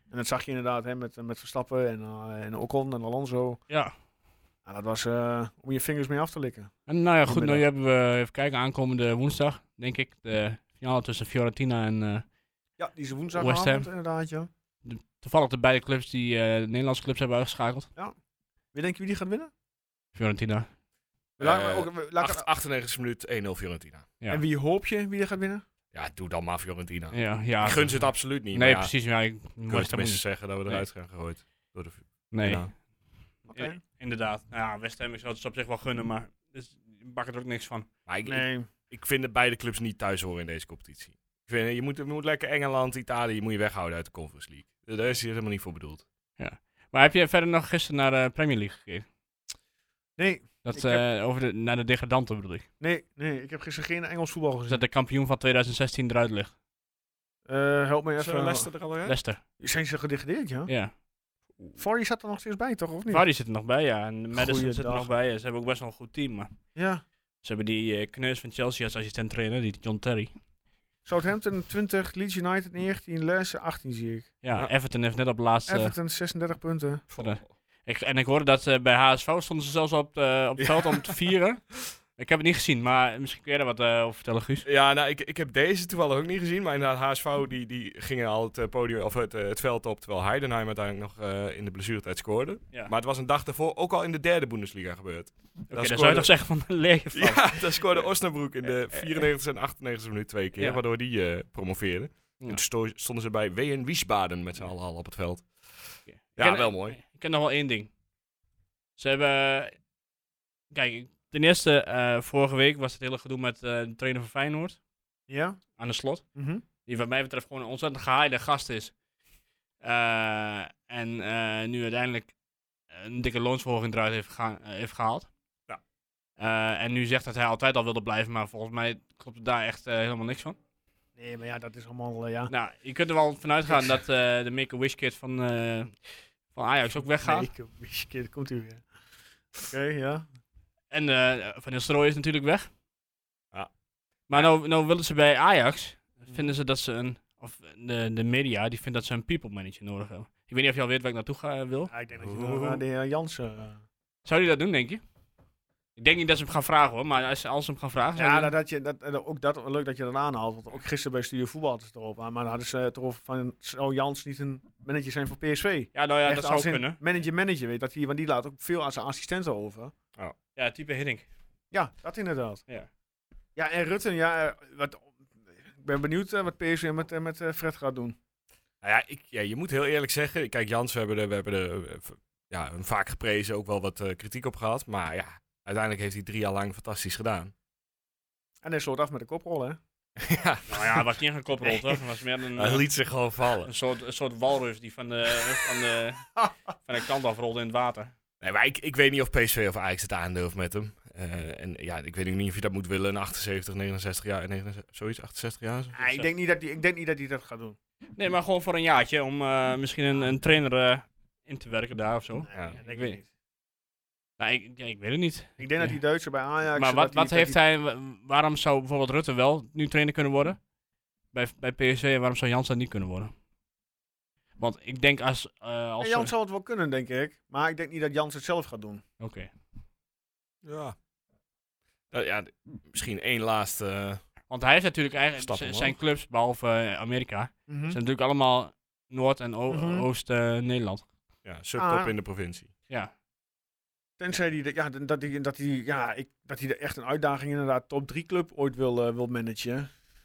[SPEAKER 1] En dat zag je inderdaad hè, met, met Verstappen en, eh, en Ocon en Alonso.
[SPEAKER 5] ja.
[SPEAKER 1] Nou, dat was eh, om je vingers mee af te likken.
[SPEAKER 5] En nou ja, goed, nu
[SPEAKER 1] Vanmiddag.
[SPEAKER 5] hebben we, even kijken, aankomende woensdag, denk ik, de finale tussen Fiorentina en eh,
[SPEAKER 1] Ja, die is woensdagavond
[SPEAKER 5] West
[SPEAKER 1] inderdaad, ja.
[SPEAKER 5] toevallig de beide clubs die eh, de Nederlandse clubs hebben uitgeschakeld.
[SPEAKER 1] Wie denk je wie die gaat winnen?
[SPEAKER 5] Fiorentina.
[SPEAKER 1] We laten
[SPEAKER 4] Eh,
[SPEAKER 1] ook- we laten-
[SPEAKER 4] Acht- 98 minuut 1-0 Fiorentina.
[SPEAKER 5] Ja.
[SPEAKER 1] En wie hoop je wie er gaat winnen?
[SPEAKER 4] Ja, doe dan maar Fiorentina. Ik
[SPEAKER 5] Ja, ja.
[SPEAKER 4] gun ze het absoluut
[SPEAKER 5] Nee,
[SPEAKER 4] niet. maar ja,
[SPEAKER 5] precies. Ja, ik
[SPEAKER 4] Kun je
[SPEAKER 5] moest
[SPEAKER 4] tenminste
[SPEAKER 5] dat
[SPEAKER 4] zeggen dat we eruit zijn gegooid. Door de...
[SPEAKER 5] Nee.
[SPEAKER 4] Ja.
[SPEAKER 1] Oké.
[SPEAKER 5] Ja, inderdaad. Nou ja, West Ham is wel- is op zich wel gunnen, maar dus, ik bak er ook niks van.
[SPEAKER 4] Maar ik, ik,
[SPEAKER 1] Nee.
[SPEAKER 4] ik vind dat beide clubs niet thuis horen in deze competitie. Ik vind, eh, je, moet, je moet lekker Engeland, Italië, moet je weghouden uit de Conference League. Daar is hier helemaal niet voor bedoeld.
[SPEAKER 5] Maar heb je verder nog gisteren naar de Premier League gekeken?
[SPEAKER 1] Nee,
[SPEAKER 5] Dat,
[SPEAKER 1] Ik
[SPEAKER 5] eh, over de, naar de degradanten bedoel ik.
[SPEAKER 1] nee, nee. Ik heb gisteren geen Engels voetbal
[SPEAKER 5] Dus
[SPEAKER 1] gezien.
[SPEAKER 5] dat de kampioen van 2016 eruit ligt.
[SPEAKER 1] Eh, help me even.
[SPEAKER 4] er al uit?
[SPEAKER 5] Leicester.
[SPEAKER 1] Zijn ze gedegradeerd, ja?
[SPEAKER 5] Ja.
[SPEAKER 1] Vardy zat er nog steeds bij, toch? Of niet?
[SPEAKER 5] Vardy zit er nog bij, ja. En Madison zit er
[SPEAKER 1] Goeiedag.
[SPEAKER 5] nog bij. ja. Ze hebben ook best wel een goed team, maar
[SPEAKER 1] Ja.
[SPEAKER 5] ze hebben die eh kneus van Chelsea als assistent trainer, die John Terry.
[SPEAKER 1] Southampton 20, Leeds United 19, Leicester 18 zie ik.
[SPEAKER 5] Ja,
[SPEAKER 4] Ja.
[SPEAKER 5] Everton heeft net op de laatste...
[SPEAKER 1] Everton 36 punten.
[SPEAKER 5] Ik, en ik hoorde dat eh, bij HSV stonden ze zelfs op, eh, op het veld om te vieren. Ik heb het niet gezien, maar misschien kun jij daar wat eh, over vertellen, Guus.
[SPEAKER 4] Ja, nou, ik, ik heb deze toevallig ook niet gezien. Maar inderdaad, HSV die, die gingen al het, eh, podium, of het, eh, het veld op. Terwijl Heidenheim uiteindelijk nog eh, in de blessuretijd scoorde.
[SPEAKER 5] Ja.
[SPEAKER 4] Maar het was een dag daarvoor ook al in de derde Bundesliga gebeurd.
[SPEAKER 5] Oké, dan zou je toch zeggen van leer je van.
[SPEAKER 4] Ja, Eh, daar scoorde Osnabroek in de 94 en 98 minuut twee keer,
[SPEAKER 5] Ja.
[SPEAKER 4] waardoor die eh, promoveerde.
[SPEAKER 5] Ja.
[SPEAKER 4] En toen sto- stonden ze bij WN Wiesbaden met z'n allen al op het veld. Ja,
[SPEAKER 5] ken-
[SPEAKER 4] wel mooi.
[SPEAKER 5] Ik ken nog wel één ding. Ze hebben... Kijk, ten eerste, eh, vorige week was het hele gedoe met eh, de trainer van Feyenoord,
[SPEAKER 1] Ja?
[SPEAKER 5] aan de slot.
[SPEAKER 1] Mhm.
[SPEAKER 5] Die wat mij betreft gewoon een ontzettend gehaaide gast is. Eh, en eh, nu uiteindelijk een dikke loonsverhoging eruit heeft, gegaan- eh, heeft gehaald.
[SPEAKER 4] Ja.
[SPEAKER 5] Eh, en nu zegt dat hij altijd al wilde blijven, maar volgens mij klopt er daar echt eh, helemaal niks van.
[SPEAKER 1] Nee, maar ja, dat is allemaal, eh, ja.
[SPEAKER 5] Nou, je kunt er wel vanuit gaan dat eh, de Make-A-Wish kit van, eh, van Ajax ook weggaat.
[SPEAKER 1] Nee, ik- wist je, komt u weer. Oké, ja.
[SPEAKER 5] En eh, Van Nistelrooy is natuurlijk weg.
[SPEAKER 4] Ja.
[SPEAKER 5] Maar nou, nou willen ze bij Ajax,
[SPEAKER 1] Mm.
[SPEAKER 5] vinden ze dat ze een, of de, de media, die vindt dat ze een people manager nodig hebben. Ik weet niet of je al weet waar ik naartoe ga, eh, wil.
[SPEAKER 1] Ja, ik denk dat je dan naar de heer Jansen... eh,
[SPEAKER 5] Zou die dat doen, denk je? Ik denk niet dat ze hem gaan vragen hoor, maar als, ze- als ze hem gaan vragen... zou
[SPEAKER 1] Ja,
[SPEAKER 5] die-
[SPEAKER 1] dat, dat je, dat, eh, ook dat, leuk dat je dat aanhaalt. Want ook gisteren bij Studio Voetbal hadden ze het erop aan. Maar dan hadden ze het erover van, zou Jans niet een manager zijn voor PSV?
[SPEAKER 5] ja nou ja,
[SPEAKER 1] Echt
[SPEAKER 5] dat
[SPEAKER 1] als
[SPEAKER 5] zou
[SPEAKER 1] in
[SPEAKER 5] kunnen.
[SPEAKER 1] Manager, manager, weet dat hij, want die laat ook veel aan zijn assistenten over.
[SPEAKER 5] Ja, type Hiddink.
[SPEAKER 1] Ja, dat inderdaad.
[SPEAKER 5] Ja.
[SPEAKER 1] Ja, en Rutten, ja, eh, wat, ik ben benieuwd eh, wat PSV met, eh, met eh, Fred gaat doen.
[SPEAKER 4] Nou ja, ik, ja, je moet heel eerlijk zeggen. Kijk, Jans, we hebben er, we hebben er eh, v- ja, hem vaak geprezen, ook wel wat eh, kritiek op gehad. Maar ja, uiteindelijk heeft hij drie jaar lang fantastisch gedaan.
[SPEAKER 1] En hij sloot af met de koprol, hè?
[SPEAKER 4] ja,
[SPEAKER 5] Nou ja, hij was niet een koprol toch? Hij was meer een,
[SPEAKER 4] hij liet zich gewoon vallen.
[SPEAKER 5] een, soort, een soort walrus die van de, van, de, van de kant afrolde in het water.
[SPEAKER 4] Nee, maar ik, ik weet niet of PSV of Ajax het aandurft met hem. Eh, en ja, ik weet ook niet of je dat moet willen, een 78, 69 jaar, 69, zoiets, 68 jaar.
[SPEAKER 1] Ah, ik, denk niet dat die, ik denk niet dat hij dat gaat doen.
[SPEAKER 5] Nee, maar gewoon voor een jaartje om eh, misschien een, een trainer eh, in te werken daar of zo.
[SPEAKER 4] Oh, Ja.
[SPEAKER 1] dat
[SPEAKER 5] Ik weet- Nou, ik, ja, ik weet het niet.
[SPEAKER 1] Ik denk dat die Duitser bij Ajax...
[SPEAKER 5] maar
[SPEAKER 1] dat
[SPEAKER 5] wat,
[SPEAKER 1] die-
[SPEAKER 5] wat
[SPEAKER 1] dat
[SPEAKER 5] heeft
[SPEAKER 1] die-
[SPEAKER 5] hij, wa- waarom zou bijvoorbeeld Rutte wel nu trainer kunnen worden bij, bij PSV en waarom zou Jans dat niet kunnen worden? Want ik denk als... eh, als
[SPEAKER 1] Ja, Jans zal het wel kunnen, denk ik. Maar ik denk niet dat Jans het zelf gaat doen.
[SPEAKER 5] Oké.
[SPEAKER 4] Ja. Nou ja, d- misschien één laatste. eh,
[SPEAKER 5] Want hij heeft natuurlijk eigenlijk
[SPEAKER 4] Stap
[SPEAKER 5] z-
[SPEAKER 4] omhoog.
[SPEAKER 5] zijn clubs, behalve eh, Amerika,
[SPEAKER 1] Mhm.
[SPEAKER 5] zijn natuurlijk allemaal Noord- en O-
[SPEAKER 1] Mhm.
[SPEAKER 5] Oost-Nederland.
[SPEAKER 4] ja, subtop
[SPEAKER 1] Ah.
[SPEAKER 4] in de provincie.
[SPEAKER 5] ja.
[SPEAKER 1] Tenzij die, de- ja, d- dat die, dat die, ja, ik, dat die er echt een uitdaging inderdaad top 3 club ooit wil, eh, wil managen.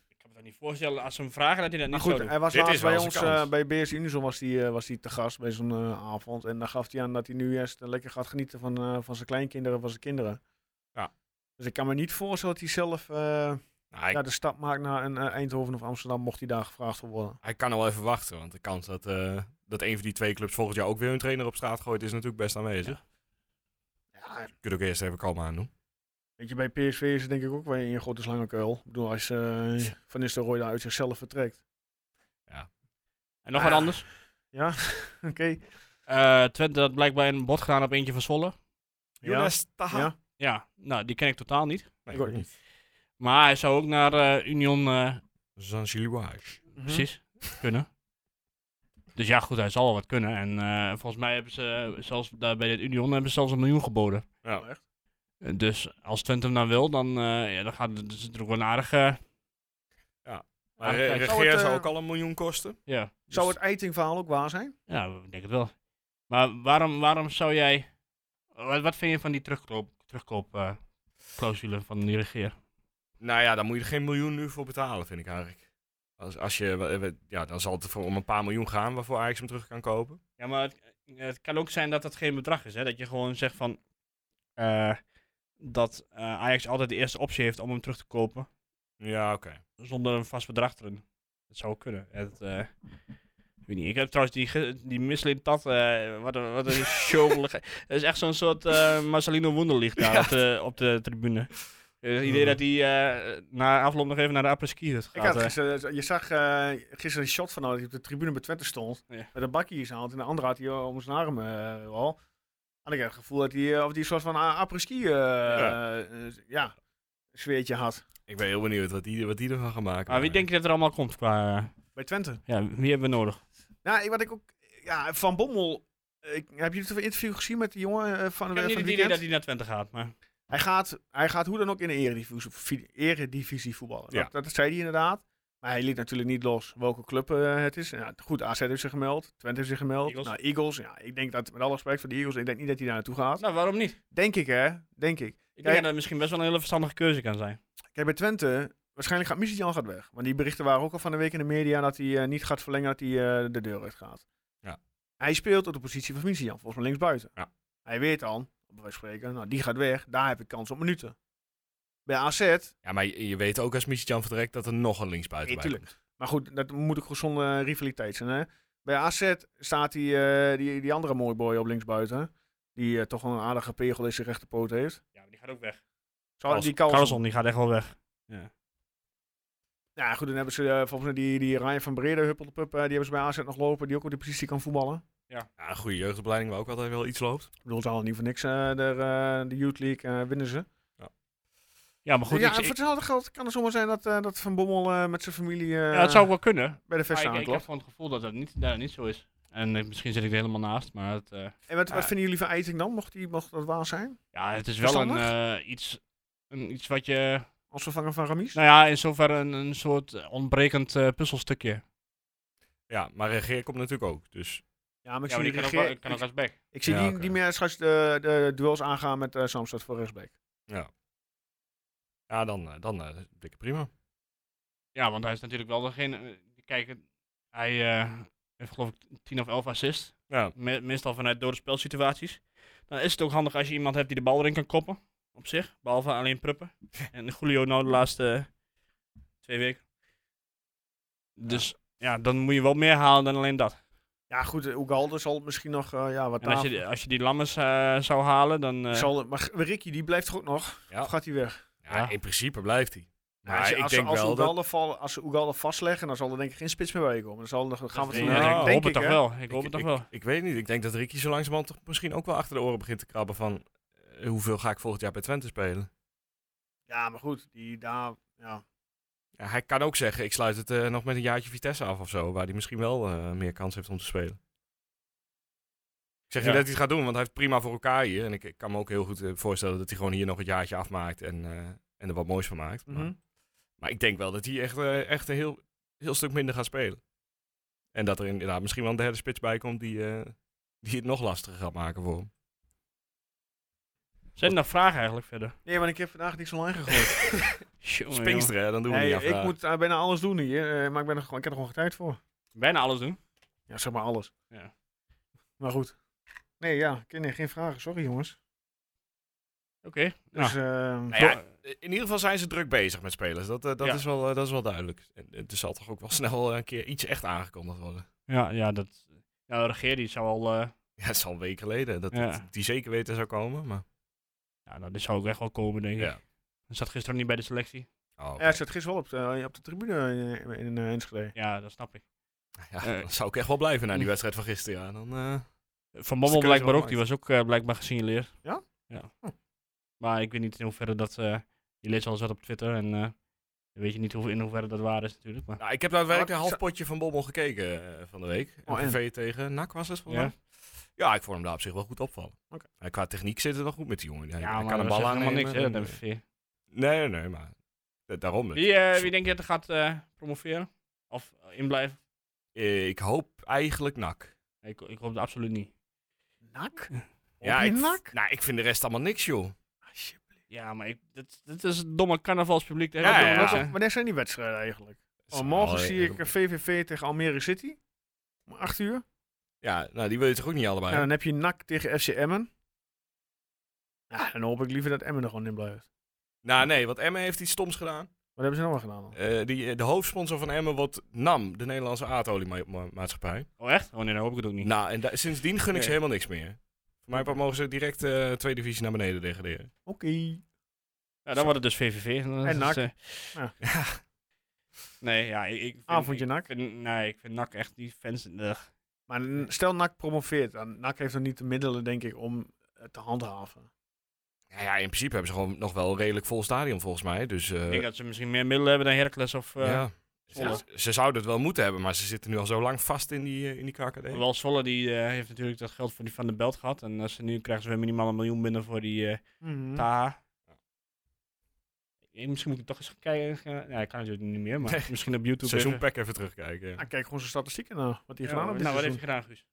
[SPEAKER 5] Ik heb het kan niet voorstellen, als ze hem vragen, dat hij
[SPEAKER 1] Maar
[SPEAKER 5] dat niet
[SPEAKER 1] goed,
[SPEAKER 5] zou doen.
[SPEAKER 1] hij was
[SPEAKER 4] Dit
[SPEAKER 1] laatst
[SPEAKER 4] is wel
[SPEAKER 1] bij ons,
[SPEAKER 4] zijn kans.
[SPEAKER 1] eh, bij BS Unison was hij eh, was hij te gast bij zo'n eh, avond. En dan gaf hij aan dat hij nu eerst eh, lekker gaat genieten van, eh, van zijn kleinkinderen, van zijn kinderen.
[SPEAKER 4] Ja.
[SPEAKER 1] Dus ik kan me niet voorstellen dat hij zelf eh,
[SPEAKER 4] Nou,
[SPEAKER 1] ja,
[SPEAKER 4] hij,
[SPEAKER 1] de stap maakt naar een, eh, Eindhoven of Amsterdam, mocht hij daar gevraagd voor worden.
[SPEAKER 4] hij kan al even wachten, want de kans dat, eh, dat een van die twee clubs volgend jaar ook weer hun trainer op straat gooit, is natuurlijk best aanwezig.
[SPEAKER 1] Ja,
[SPEAKER 4] Je kunt ook eerst even kalm aan doen.
[SPEAKER 1] Weet je, bij PSV is het denk ik ook wel een grote slangenkuil. Ik bedoel, als eh Van Nistelrooy daar uit zichzelf vertrekt.
[SPEAKER 5] En nog wat
[SPEAKER 1] Ah.
[SPEAKER 5] anders.
[SPEAKER 1] Ja, oké.
[SPEAKER 5] Eh, Twente had blijkbaar een bod gedaan op eentje van Zwolle.
[SPEAKER 1] Ja.
[SPEAKER 4] Taha.
[SPEAKER 1] Ja.
[SPEAKER 5] Ja, nou, die ken ik totaal niet.
[SPEAKER 4] Nee,
[SPEAKER 1] Ik ook niet.
[SPEAKER 5] Maar hij zou ook naar eh, Union eh,
[SPEAKER 4] Zanziluage.
[SPEAKER 5] Precies. Kunnen. Dus ja, goed, hij zal wel wat kunnen. En eh, volgens mij hebben ze, eh, zelfs daar bij dit Union, hebben ze zelfs een miljoen geboden.
[SPEAKER 4] Ja.
[SPEAKER 1] Echt?
[SPEAKER 5] Eh, Dus als Twente hem dan wil, dan, eh, ja, dan gaat het dus natuurlijk wel een aardige...
[SPEAKER 4] Maar
[SPEAKER 5] Zou
[SPEAKER 4] re-
[SPEAKER 5] het,
[SPEAKER 4] regeer
[SPEAKER 1] eh,
[SPEAKER 4] zou ook al een miljoen kosten.
[SPEAKER 5] Ja,
[SPEAKER 1] Zou
[SPEAKER 4] Dus-
[SPEAKER 1] het Eiting-verhaal ook waar zijn?
[SPEAKER 5] ja, ik denk het wel. Maar waarom, waarom zou jij... Wat, wat vind je van die terugkoop, terugkoop eh, clausule van die regeer?
[SPEAKER 4] Nou ja, daar moet je er geen miljoen nu voor betalen, vind ik eigenlijk. Als, als je, we- we- ja, dan zal het er voor om een paar miljoen gaan waarvoor Ajax hem terug kan kopen.
[SPEAKER 5] Ja, maar het, het kan ook zijn dat dat geen bedrag is. Hè? Dat je gewoon zegt van... eh, dat eh, Ajax altijd de eerste optie heeft om hem terug te kopen.
[SPEAKER 4] Ja, oké.
[SPEAKER 5] zonder een vast bedrag erin. Dat zou ook kunnen. Het, eh, ik weet niet. Ik heb trouwens die, ge- die Michelin Tat. eh, wat een, wat een showgelige. Dat is echt zo'n soort eh Marcelino Wunderlich daar
[SPEAKER 4] Ja.
[SPEAKER 5] op, de, op de tribune. Eh, Het idee dat hij eh, na afloop nog even naar de apres-ski gaat.
[SPEAKER 1] Ik had
[SPEAKER 5] eh.
[SPEAKER 1] gisteren, je zag eh, gisteren een shot van nou, dat hij op de tribune bij Twente stond.
[SPEAKER 5] Ja.
[SPEAKER 1] Met een bakje in zijn hand. En de andere had hij eh, om zijn arm eh, al. En ik heb het gevoel dat hij eh, of die een soort van a- apres-ski eh,
[SPEAKER 4] Ja.
[SPEAKER 1] eh, ja, sfeertje had.
[SPEAKER 4] Ik ben heel benieuwd wat die, wat die ervan gaan maken.
[SPEAKER 5] maar wie denk je dat er allemaal komt qua... eh,
[SPEAKER 1] Bij Twente.
[SPEAKER 5] ja, wie hebben we nodig?
[SPEAKER 1] Nou, ik- wat ik ook... Ja, Van Bommel... Ik, heb je het interview gezien met die jongen eh, van,
[SPEAKER 5] Ik
[SPEAKER 1] van
[SPEAKER 5] heb niet
[SPEAKER 1] het
[SPEAKER 5] het idee
[SPEAKER 1] weekend?
[SPEAKER 5] dat hij naar Twente gaat, maar...
[SPEAKER 1] Hij gaat, hij gaat hoe dan ook in de eredivisie, vi- eredivisie voetballen.
[SPEAKER 4] Ja.
[SPEAKER 1] Dat, dat zei hij inderdaad. Maar hij liet natuurlijk niet los welke club eh, het is. Ja, goed, AZ heeft zich gemeld. Twente heeft zich gemeld.
[SPEAKER 5] Eagles.
[SPEAKER 1] Nou, Eagles. Ja, ik denk dat, met alle respect voor de Eagles, ik denk niet dat hij daar naartoe gaat.
[SPEAKER 5] Nou, waarom niet?
[SPEAKER 1] Denk ik, hè. Denk ik.
[SPEAKER 5] Ik
[SPEAKER 1] Kijk-
[SPEAKER 5] denk dat het misschien best wel een hele verstandige keuze kan zijn.
[SPEAKER 1] Kijk, bij Twente, waarschijnlijk gaat Jan gaat weg. Want die berichten waren ook al van de week in de media dat hij eh, niet gaat verlengen, dat hij eh, de deur uit gaat.
[SPEAKER 4] Ja.
[SPEAKER 1] Hij speelt op de positie van Jan, volgens mij linksbuiten.
[SPEAKER 4] Ja.
[SPEAKER 1] Hij weet dan, op wijze van spreken, nou, die gaat weg, daar heb ik kans op minuten. Bij AZ
[SPEAKER 4] Ja, maar je, je weet ook als Michitjan vertrekt dat er nog een linksbuiten
[SPEAKER 1] Nee,
[SPEAKER 4] bij
[SPEAKER 1] tuurlijk. Maar goed, dat moet ook gezonde rivaliteit zijn. Hè? Bij AZ staat die, eh, die, die andere mooi boy op linksbuiten. Die eh, toch wel een aardige pegel in zijn rechterpoot heeft.
[SPEAKER 5] Ja, maar die gaat ook weg.
[SPEAKER 1] Zou die Carlson-
[SPEAKER 5] Carlson, die gaat echt wel weg.
[SPEAKER 1] Ja, goed, dan hebben ze eh, volgens mij die, die Ryan van Breda, Huppelpup, eh, die hebben ze bij AZ nog lopen. Die ook op de positie kan voetballen.
[SPEAKER 4] komt. Ja, een goede jeugdopleiding waar ook altijd wel iets loopt.
[SPEAKER 1] Ik bedoel, ze halen niet voor niks eh, de, eh, de Youth League, eh, winnen ze.
[SPEAKER 5] Ja, maar goed.
[SPEAKER 1] ja,
[SPEAKER 5] ik-
[SPEAKER 1] en
[SPEAKER 5] ik-
[SPEAKER 1] voor hetzelfde geld kan het zomaar zijn dat, eh, dat Van Bommel eh, met zijn familie eh,
[SPEAKER 5] ja, het zou ook wel kunnen.
[SPEAKER 1] bij de
[SPEAKER 5] Maar
[SPEAKER 1] vesten
[SPEAKER 5] Ah, ik, ik
[SPEAKER 1] aanklopt.
[SPEAKER 5] heb gewoon het gevoel dat dat niet, dat niet zo is. En eh, misschien zit ik er helemaal naast, maar het, eh,
[SPEAKER 1] En wat, wat
[SPEAKER 5] Ja.
[SPEAKER 1] vinden jullie van Eiting dan? Mocht, die, mocht dat waar zijn?
[SPEAKER 5] ja, het is wel een,
[SPEAKER 1] Verstandig?
[SPEAKER 5] eh, iets, een, iets wat je,
[SPEAKER 1] Als vervanger van Ramis?
[SPEAKER 5] nou ja, in zoverre een, een soort ontbrekend eh, puzzelstukje.
[SPEAKER 4] Ja, maar regeer komt natuurlijk ook. Dus
[SPEAKER 1] Ja, maar ik
[SPEAKER 5] Ja, maar
[SPEAKER 1] zie
[SPEAKER 5] die kan ook,
[SPEAKER 1] regeer-
[SPEAKER 5] wel- kan ook als back.
[SPEAKER 1] Ik zie
[SPEAKER 4] Ja,
[SPEAKER 1] die,
[SPEAKER 4] oké.
[SPEAKER 1] die meer straks de, de duels aangaan met eh Samstad voor rechtsback.
[SPEAKER 4] ja, dan, eh, dan eh, dikke prima.
[SPEAKER 5] Ja, want hij is natuurlijk wel degene, eh, kijk, hij eh, heeft geloof ik 10 of 11 assists,
[SPEAKER 4] Ja,
[SPEAKER 5] me- meestal vanuit dode spelsituaties. Dan is het ook handig als je iemand hebt die de bal erin kan koppen, op zich, behalve alleen Pruppen. en Julio nou de laatste twee weken. Dus ja, dan moet je wel meer halen dan alleen dat.
[SPEAKER 1] Ja, goed, eh, Ugalde zal het misschien nog eh, ja, wat
[SPEAKER 5] En als
[SPEAKER 1] daar.
[SPEAKER 5] je, die- als je die lammers eh, zou halen, dan. eh,
[SPEAKER 1] zal het, maar G- Ricky, die blijft toch ook nog?
[SPEAKER 4] Ja.
[SPEAKER 1] Of gaat hij weg?
[SPEAKER 4] ja,
[SPEAKER 5] Ja.
[SPEAKER 4] in principe blijft hij. Maar
[SPEAKER 1] als, je-
[SPEAKER 4] ik
[SPEAKER 1] als, ze-
[SPEAKER 4] denk
[SPEAKER 1] als,
[SPEAKER 4] wel dat...
[SPEAKER 1] Ugalde vallen, als ze Ugalde vastleggen, dan zal er denk ik geen spits meer bij komen. Dan zal, dan gaan we
[SPEAKER 5] ik
[SPEAKER 1] het
[SPEAKER 4] denk-
[SPEAKER 1] nou,
[SPEAKER 5] hoop
[SPEAKER 1] denk
[SPEAKER 5] het toch
[SPEAKER 1] hè.
[SPEAKER 5] wel. Ik, hoop het toch
[SPEAKER 4] ik,
[SPEAKER 5] wel.
[SPEAKER 4] ik weet niet. Ik denk dat Ricky zo langzamerhand toch misschien ook wel achter de oren begint te krabben van... eh, hoeveel ga ik volgend jaar bij Twente spelen?
[SPEAKER 1] Ja, maar goed, die daar. Ja.
[SPEAKER 4] Ja, hij kan ook zeggen, ik sluit het eh, nog met een jaartje Vitesse af of zo. Waar hij misschien wel eh, meer kans heeft om te spelen. Ik zeg
[SPEAKER 5] Ja.
[SPEAKER 4] niet dat hij het gaat doen, want hij heeft het prima voor elkaar hier. En ik, ik kan me ook heel goed eh, voorstellen dat hij gewoon hier nog het jaartje afmaakt. En, eh, en er wat moois van maakt. Maar-
[SPEAKER 1] Mhm.
[SPEAKER 4] Maar ik denk wel dat hij echt, eh, echt een heel, heel stuk minder gaat spelen. En dat er inderdaad misschien wel een derde spits bij komt die, eh, die het nog lastiger gaat maken voor hem.
[SPEAKER 5] Zijn er nog vragen eigenlijk verder?
[SPEAKER 1] Nee, maar ik heb vandaag niks online gegooid.
[SPEAKER 5] Jongen, jongen.
[SPEAKER 4] Spinksteren, hè, dan doen we
[SPEAKER 1] nee,
[SPEAKER 4] niet
[SPEAKER 1] ik
[SPEAKER 4] afvragen.
[SPEAKER 1] moet eh, bijna alles doen hier, eh, maar ik, ben er, gewoon- ik heb er gewoon geen tijd voor.
[SPEAKER 5] Bijna alles doen.
[SPEAKER 1] Ja, zeg maar alles.
[SPEAKER 5] Ja.
[SPEAKER 1] Maar goed. Nee, ja, ik- nee, geen vragen. Sorry, jongens.
[SPEAKER 5] Oké.
[SPEAKER 1] Dus,
[SPEAKER 5] Nou,
[SPEAKER 1] ehm,
[SPEAKER 4] Nou ja, in ieder geval zijn ze druk bezig met spelers. Dat, eh, dat,
[SPEAKER 5] Ja.
[SPEAKER 4] is, wel, eh, dat is wel duidelijk. En het zal toch ook wel snel eh, een keer iets echt aangekondigd worden.
[SPEAKER 5] ja, ja, dat. Nou, de regeer die zou al. eh,
[SPEAKER 4] Ja, het is al een week geleden dat
[SPEAKER 5] Ja.
[SPEAKER 4] het- die zeker weten zou komen. Maar,
[SPEAKER 5] ja, nou, dit zou ook echt wel komen, denk ik.
[SPEAKER 4] ja.
[SPEAKER 5] Hij zat gisteren niet bij de selectie.
[SPEAKER 4] Oh, oké.
[SPEAKER 1] Ja, ik zat gisteren wel op de, op de tribune in, in eh, Enschede.
[SPEAKER 5] Ja, dat snap ik.
[SPEAKER 4] Ja,
[SPEAKER 5] eh, Hm.
[SPEAKER 4] dan zou ik echt wel blijven na die wedstrijd van gisteren. Ja, dan, eh,
[SPEAKER 5] Van
[SPEAKER 4] Dus de
[SPEAKER 5] Bommel
[SPEAKER 4] keuze
[SPEAKER 5] blijkbaar
[SPEAKER 4] wel
[SPEAKER 5] ook, die was ook eh, blijkbaar gesignaleerd.
[SPEAKER 1] Ja?
[SPEAKER 5] Ja.
[SPEAKER 1] Hm.
[SPEAKER 5] Maar ik weet niet in hoeverre dat... eh je leest al zat op Twitter en eh, je weet je niet hoe, in hoeverre dat waar is natuurlijk. Maar,
[SPEAKER 4] nou, ik heb daadwerkelijk
[SPEAKER 1] Maar
[SPEAKER 4] een
[SPEAKER 1] zou-
[SPEAKER 4] half potje van Bobbel gekeken eh, van de week.
[SPEAKER 1] Ah, Oh, en?
[SPEAKER 4] PV tegen NAC was het volgens
[SPEAKER 5] Ja.
[SPEAKER 4] mij. Ja, ik vond hem daar op zich wel goed opvallen.
[SPEAKER 1] Oké.
[SPEAKER 4] Eh, Qua techniek zit het wel goed met die jongen. Hij,
[SPEAKER 5] ja,
[SPEAKER 4] hij
[SPEAKER 5] maar
[SPEAKER 4] kan een
[SPEAKER 5] dat
[SPEAKER 4] bal
[SPEAKER 5] zegt helemaal
[SPEAKER 4] aannemen.
[SPEAKER 5] niks, hè,
[SPEAKER 4] en-
[SPEAKER 5] dat MVV.
[SPEAKER 4] Nee, nee, maar eh, daarom.
[SPEAKER 5] Wie, eh, wie denk je dat er gaat eh, promoveren? Of inblijven?
[SPEAKER 4] Eh, Ik hoop eigenlijk NAC.
[SPEAKER 5] Ik, ik hoop het absoluut niet.
[SPEAKER 1] Nak?
[SPEAKER 4] Ja, ik,
[SPEAKER 1] ik... Nak?
[SPEAKER 4] Nou, ik vind de rest allemaal niks, joh.
[SPEAKER 5] Ja, maar ik, dit, dit is het domme carnavalspubliek. hè,
[SPEAKER 4] Ja,
[SPEAKER 5] dat doen we
[SPEAKER 4] ja.
[SPEAKER 5] niks aan.
[SPEAKER 1] Wanneer zijn die wedstrijden eigenlijk? Oh,
[SPEAKER 4] Al,
[SPEAKER 1] morgen
[SPEAKER 4] eh,
[SPEAKER 1] zie ik eh, VVV tegen Almere City. Om 8 uur.
[SPEAKER 4] Ja, nou, die wil je toch ook niet allebei?
[SPEAKER 1] En dan heb je NAC tegen FC Emmen. Ja, dan hoop ik liever dat Emmen er gewoon in blijft.
[SPEAKER 4] Nou, nee, want Emmen heeft iets stoms gedaan.
[SPEAKER 1] Wat hebben ze nou wel gedaan dan?
[SPEAKER 4] Eh, die, eh, de hoofdsponsor van Emmen wordt NAM, de Nederlandse aardoliemaatschappij.
[SPEAKER 5] Oh echt? Oh nee, dan hoop ik het ook niet.
[SPEAKER 4] Nou, en da- sindsdien gun ik ze
[SPEAKER 5] Nee.
[SPEAKER 4] helemaal niks meer. Voor mij part mogen ze direct eh tweede divisie naar beneden degraderen.
[SPEAKER 1] Oké.
[SPEAKER 5] Ja, dan wordt het dus VVV. Dan is
[SPEAKER 1] En NAC.
[SPEAKER 5] het, eh,
[SPEAKER 1] Ja.
[SPEAKER 5] Nee, ja, ik, ik vind,
[SPEAKER 1] Avondje
[SPEAKER 5] ik
[SPEAKER 1] NAC.
[SPEAKER 5] vind- nee, ik vind NAC echt die fans... ugh.
[SPEAKER 1] Maar n- stel NAC promoveert. Dan NAC heeft dan niet de middelen, denk ik, om het te handhaven.
[SPEAKER 4] Ja, ja, in principe hebben ze gewoon nog wel een redelijk vol stadion volgens mij. Dus eh,
[SPEAKER 5] ik denk dat ze misschien meer middelen hebben dan Heracles of eh,
[SPEAKER 4] ja.
[SPEAKER 5] Zwolle.
[SPEAKER 4] Ze- Ze zouden het wel moeten hebben, maar ze zitten nu al zo lang vast in die, eh, in die KKD.
[SPEAKER 5] Wel Zwolle die eh, heeft natuurlijk dat geld voor die Van de Belt gehad. En als ze nu krijgen ze weer minimaal een miljoen binnen voor die eh
[SPEAKER 4] Mhm.
[SPEAKER 1] Hm. Nou,
[SPEAKER 5] Taha. Eh, Misschien moet ik toch eens gaan kijken. eh, Ja, ik kan natuurlijk niet meer, maar
[SPEAKER 4] Nee.
[SPEAKER 5] misschien op YouTube even.
[SPEAKER 4] Seizoenpack even terugkijken.
[SPEAKER 1] Nou, kijk gewoon zijn statistieken naar. Wat die
[SPEAKER 5] Ja,
[SPEAKER 1] gedaan
[SPEAKER 5] nou,
[SPEAKER 1] hebben.
[SPEAKER 5] wat heeft je gedaan, Guus?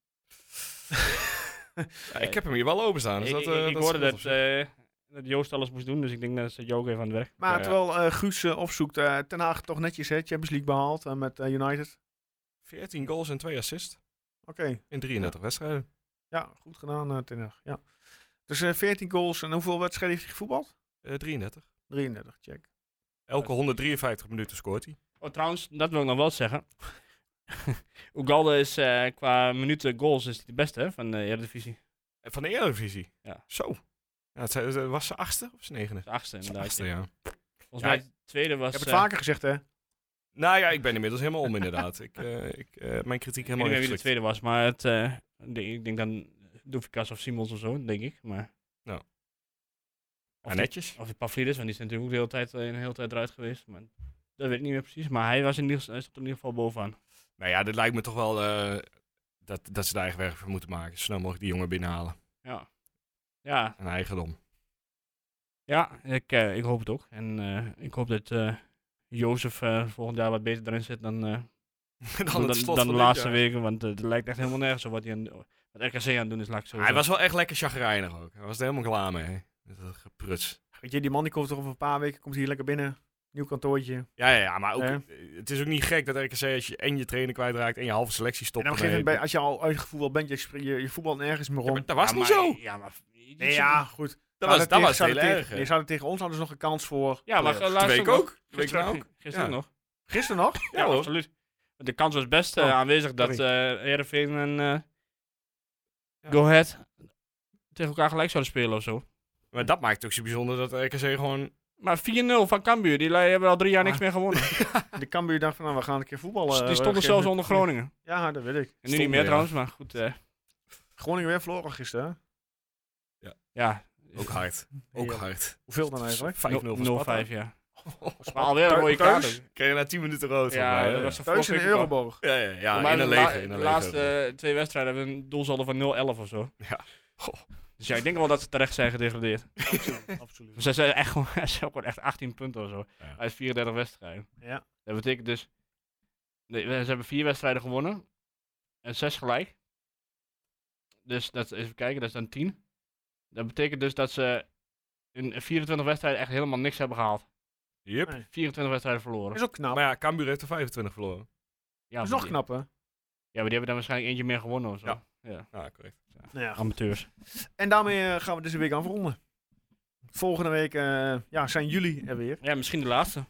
[SPEAKER 4] Ja, ik heb hem hier wel openstaan. Dus
[SPEAKER 5] ik
[SPEAKER 4] dat,
[SPEAKER 5] ik,
[SPEAKER 4] eh,
[SPEAKER 5] ik
[SPEAKER 4] dat
[SPEAKER 5] hoorde
[SPEAKER 4] scheelt
[SPEAKER 5] dat,
[SPEAKER 4] op zich.
[SPEAKER 5] eh, dat Joost alles moest doen, dus ik denk dat ze Joost even aan het werk.
[SPEAKER 1] Maar
[SPEAKER 4] Ja.
[SPEAKER 1] terwijl eh, Guus eh, opzoekt, eh, Ten Haag toch netjes hè, Champions League behaald eh, met eh, United.
[SPEAKER 4] 14 goals en 2 assists
[SPEAKER 1] Oké,
[SPEAKER 4] in 33 wedstrijden.
[SPEAKER 1] ja, goed gedaan eh, Ten Haag. Ja. Dus eh, 14 goals en hoeveel wedstrijden heeft hij gevoetbald?
[SPEAKER 4] Eh, 33.
[SPEAKER 1] 33, check.
[SPEAKER 4] Elke 153 minuten scoort hij.
[SPEAKER 5] Oh, trouwens, dat wil ik nog wel zeggen. Ugalde is eh, qua minuten goals is hij de beste hè, van de Eredivisie.
[SPEAKER 4] En Van de Eredivisie.
[SPEAKER 5] Ja.
[SPEAKER 4] Zo. Ja, het zijn- het was zijn achtste of zijn negende?
[SPEAKER 5] De achtste
[SPEAKER 4] Zijn
[SPEAKER 5] inderdaad.
[SPEAKER 4] achtste, ja.
[SPEAKER 5] Volgens
[SPEAKER 4] Ja,
[SPEAKER 5] mij de tweede was...
[SPEAKER 1] Ik heb het
[SPEAKER 5] eh,
[SPEAKER 1] vaker gezegd, hè?
[SPEAKER 4] Nou ja, ik ben inmiddels helemaal om inderdaad. ik, eh, ik, eh, mijn kritiek
[SPEAKER 5] Ik weet
[SPEAKER 4] helemaal
[SPEAKER 5] niet meer wie de
[SPEAKER 4] ingezet.
[SPEAKER 5] tweede was, maar het, eh, ik denk- ik denk dan Doefikas of Simons of zo, denk ik. Maar...
[SPEAKER 4] Nou.
[SPEAKER 5] Of,
[SPEAKER 4] Ah,
[SPEAKER 5] die-
[SPEAKER 4] netjes.
[SPEAKER 5] of die Pavlidis, want die is natuurlijk ook de hele tijd, eh, een hele tijd eruit geweest. Maar dat weet ik niet meer precies, maar hij, was in ieder, geval- hij stond in ieder geval bovenaan.
[SPEAKER 4] Nou ja, dit lijkt me toch wel eh, dat, dat ze daar eigen werk van moeten maken. Zo snel mogelijk die jongen binnenhalen.
[SPEAKER 5] Ja, ja,
[SPEAKER 4] Een eigendom.
[SPEAKER 5] ja ik, eh, ik hoop het ook. En eh, ik hoop dat eh Jozef eh, volgend jaar wat beter erin zit dan, eh, dan,
[SPEAKER 4] het
[SPEAKER 5] dan-
[SPEAKER 4] slot
[SPEAKER 5] dan
[SPEAKER 4] van
[SPEAKER 5] de
[SPEAKER 4] dit
[SPEAKER 5] laatste
[SPEAKER 4] jaar.
[SPEAKER 5] weken. Want eh, het lijkt echt helemaal nergens op wat, hij aan, wat RKC aan het doen is, laat ik het zo
[SPEAKER 4] Hij
[SPEAKER 5] zeggen.
[SPEAKER 4] was wel echt lekker chagrijnig ook. Hij was er helemaal klaar mee. Met dat gepruts.
[SPEAKER 1] Weet je, die man die komt toch over een paar weken komt hier lekker binnen. Nieuw kantoortje.
[SPEAKER 4] Ja, ja, ja, maar ook, eh,
[SPEAKER 1] Ja.
[SPEAKER 4] het is ook niet gek dat RKC als je en je trainer kwijtraakt en je halve selectie
[SPEAKER 1] en
[SPEAKER 4] stopt.
[SPEAKER 1] op een gegeven moment,
[SPEAKER 4] ermee.
[SPEAKER 1] bij- als je al uitgevoetbald bent, je, spring- je, je voetbal nergens meer
[SPEAKER 4] Ja,
[SPEAKER 1] rond.
[SPEAKER 4] maar dat was
[SPEAKER 5] Ja,
[SPEAKER 4] niet
[SPEAKER 5] maar-
[SPEAKER 4] zo.
[SPEAKER 5] Ja, maar...
[SPEAKER 1] nee, ja, goed.
[SPEAKER 4] Dat
[SPEAKER 1] Maar
[SPEAKER 4] was, dat
[SPEAKER 1] tegen-
[SPEAKER 4] was het
[SPEAKER 1] zouden
[SPEAKER 4] hele
[SPEAKER 1] tegen,
[SPEAKER 4] erge.
[SPEAKER 1] nee, zouden tegen ons hadden ze nog een kans voor.
[SPEAKER 5] Ja, maar
[SPEAKER 1] playoffs.
[SPEAKER 5] laatst
[SPEAKER 4] De week
[SPEAKER 5] nog-
[SPEAKER 4] ook. De week
[SPEAKER 5] Gisteren
[SPEAKER 4] na
[SPEAKER 5] ook. nou.
[SPEAKER 4] ook.
[SPEAKER 5] Gisteren
[SPEAKER 4] Ja.
[SPEAKER 5] nog.
[SPEAKER 1] Gisteren nog?
[SPEAKER 5] Ja,
[SPEAKER 4] hoor.
[SPEAKER 5] absoluut. Want de kans was best eh,
[SPEAKER 1] Oh,
[SPEAKER 5] aanwezig dat eh
[SPEAKER 1] sorry.
[SPEAKER 5] Heerenveen en eh,
[SPEAKER 4] Ja.
[SPEAKER 5] Go Ahead tegen elkaar gelijk zouden spelen of zo.
[SPEAKER 4] Maar dat maakt het ook zo bijzonder dat RKC gewoon...
[SPEAKER 5] Maar 4-0 van Cambuur, die lui hebben al drie jaar
[SPEAKER 1] Maar-
[SPEAKER 5] niks meer gewonnen.
[SPEAKER 1] De Cambuur dacht van, nou, we gaan een keer voetballen.
[SPEAKER 5] die
[SPEAKER 1] We
[SPEAKER 5] stonden
[SPEAKER 1] geven
[SPEAKER 5] zelfs
[SPEAKER 1] het-
[SPEAKER 5] onder Groningen.
[SPEAKER 1] Ja, dat weet ik.
[SPEAKER 5] En nu niet meer
[SPEAKER 4] ja.
[SPEAKER 5] trouwens, maar goed. eh,
[SPEAKER 1] Groningen weer verloren gisteren. hè?
[SPEAKER 5] ja.
[SPEAKER 4] Ook hard. Ook
[SPEAKER 1] Ja.
[SPEAKER 4] hard.
[SPEAKER 1] Hoeveel dan eigenlijk?
[SPEAKER 4] 5-0 van
[SPEAKER 5] No- 0-5,
[SPEAKER 4] Sparta.
[SPEAKER 5] ja.
[SPEAKER 4] Sparta
[SPEAKER 5] Maar alweer een mooie kaart.
[SPEAKER 1] thuis?
[SPEAKER 5] ook.
[SPEAKER 4] Kreeg je na 10 minuten rood. volgens
[SPEAKER 5] Ja,
[SPEAKER 4] mij,
[SPEAKER 5] dat
[SPEAKER 4] hè?
[SPEAKER 5] was de
[SPEAKER 1] Thuis
[SPEAKER 5] vorige
[SPEAKER 1] in
[SPEAKER 5] week
[SPEAKER 1] de
[SPEAKER 5] ook al.
[SPEAKER 1] Euroborg.
[SPEAKER 4] ja, ja, ja,
[SPEAKER 5] Volgens mij
[SPEAKER 4] in een
[SPEAKER 5] de la-
[SPEAKER 4] leger. In een
[SPEAKER 5] de laatste
[SPEAKER 4] leger.
[SPEAKER 5] eh, twee wedstrijden hebben we een doelsaldo van 0-11 of zo.
[SPEAKER 4] Ja. Goh.
[SPEAKER 5] Dus ja, ik denk wel dat ze terecht zijn gedegradeerd.
[SPEAKER 1] Absoluut.
[SPEAKER 5] Maar Ze zijn echt, gewoon- ze hebben gewoon echt 18 punten of zo.
[SPEAKER 4] Ja.
[SPEAKER 5] Uit 34 wedstrijden.
[SPEAKER 1] Ja.
[SPEAKER 5] Dat betekent dus. Nee, we- ze hebben vier wedstrijden gewonnen. En zes gelijk. Dus dat, even kijken, dat is dan 10. Dat betekent dus dat ze in 24 wedstrijden echt helemaal niks hebben gehaald.
[SPEAKER 4] Yep.
[SPEAKER 1] Nee.
[SPEAKER 5] 24 wedstrijden verloren.
[SPEAKER 1] Is ook knap.
[SPEAKER 4] Maar ja, Cambuur heeft er 25 verloren.
[SPEAKER 5] Ja,
[SPEAKER 1] is
[SPEAKER 5] maar
[SPEAKER 1] nog
[SPEAKER 5] die-
[SPEAKER 1] knap, hè? Nou
[SPEAKER 5] Ja, maar die hebben dan waarschijnlijk eentje meer gewonnen of zo.
[SPEAKER 4] Ja.
[SPEAKER 5] ja.
[SPEAKER 4] Ah, correct.
[SPEAKER 1] Ja, goed.
[SPEAKER 5] Amateurs.
[SPEAKER 1] en daarmee eh, gaan we deze week afronden. Volgende week eh, ja, zijn jullie er weer.
[SPEAKER 5] Ja, misschien de laatste.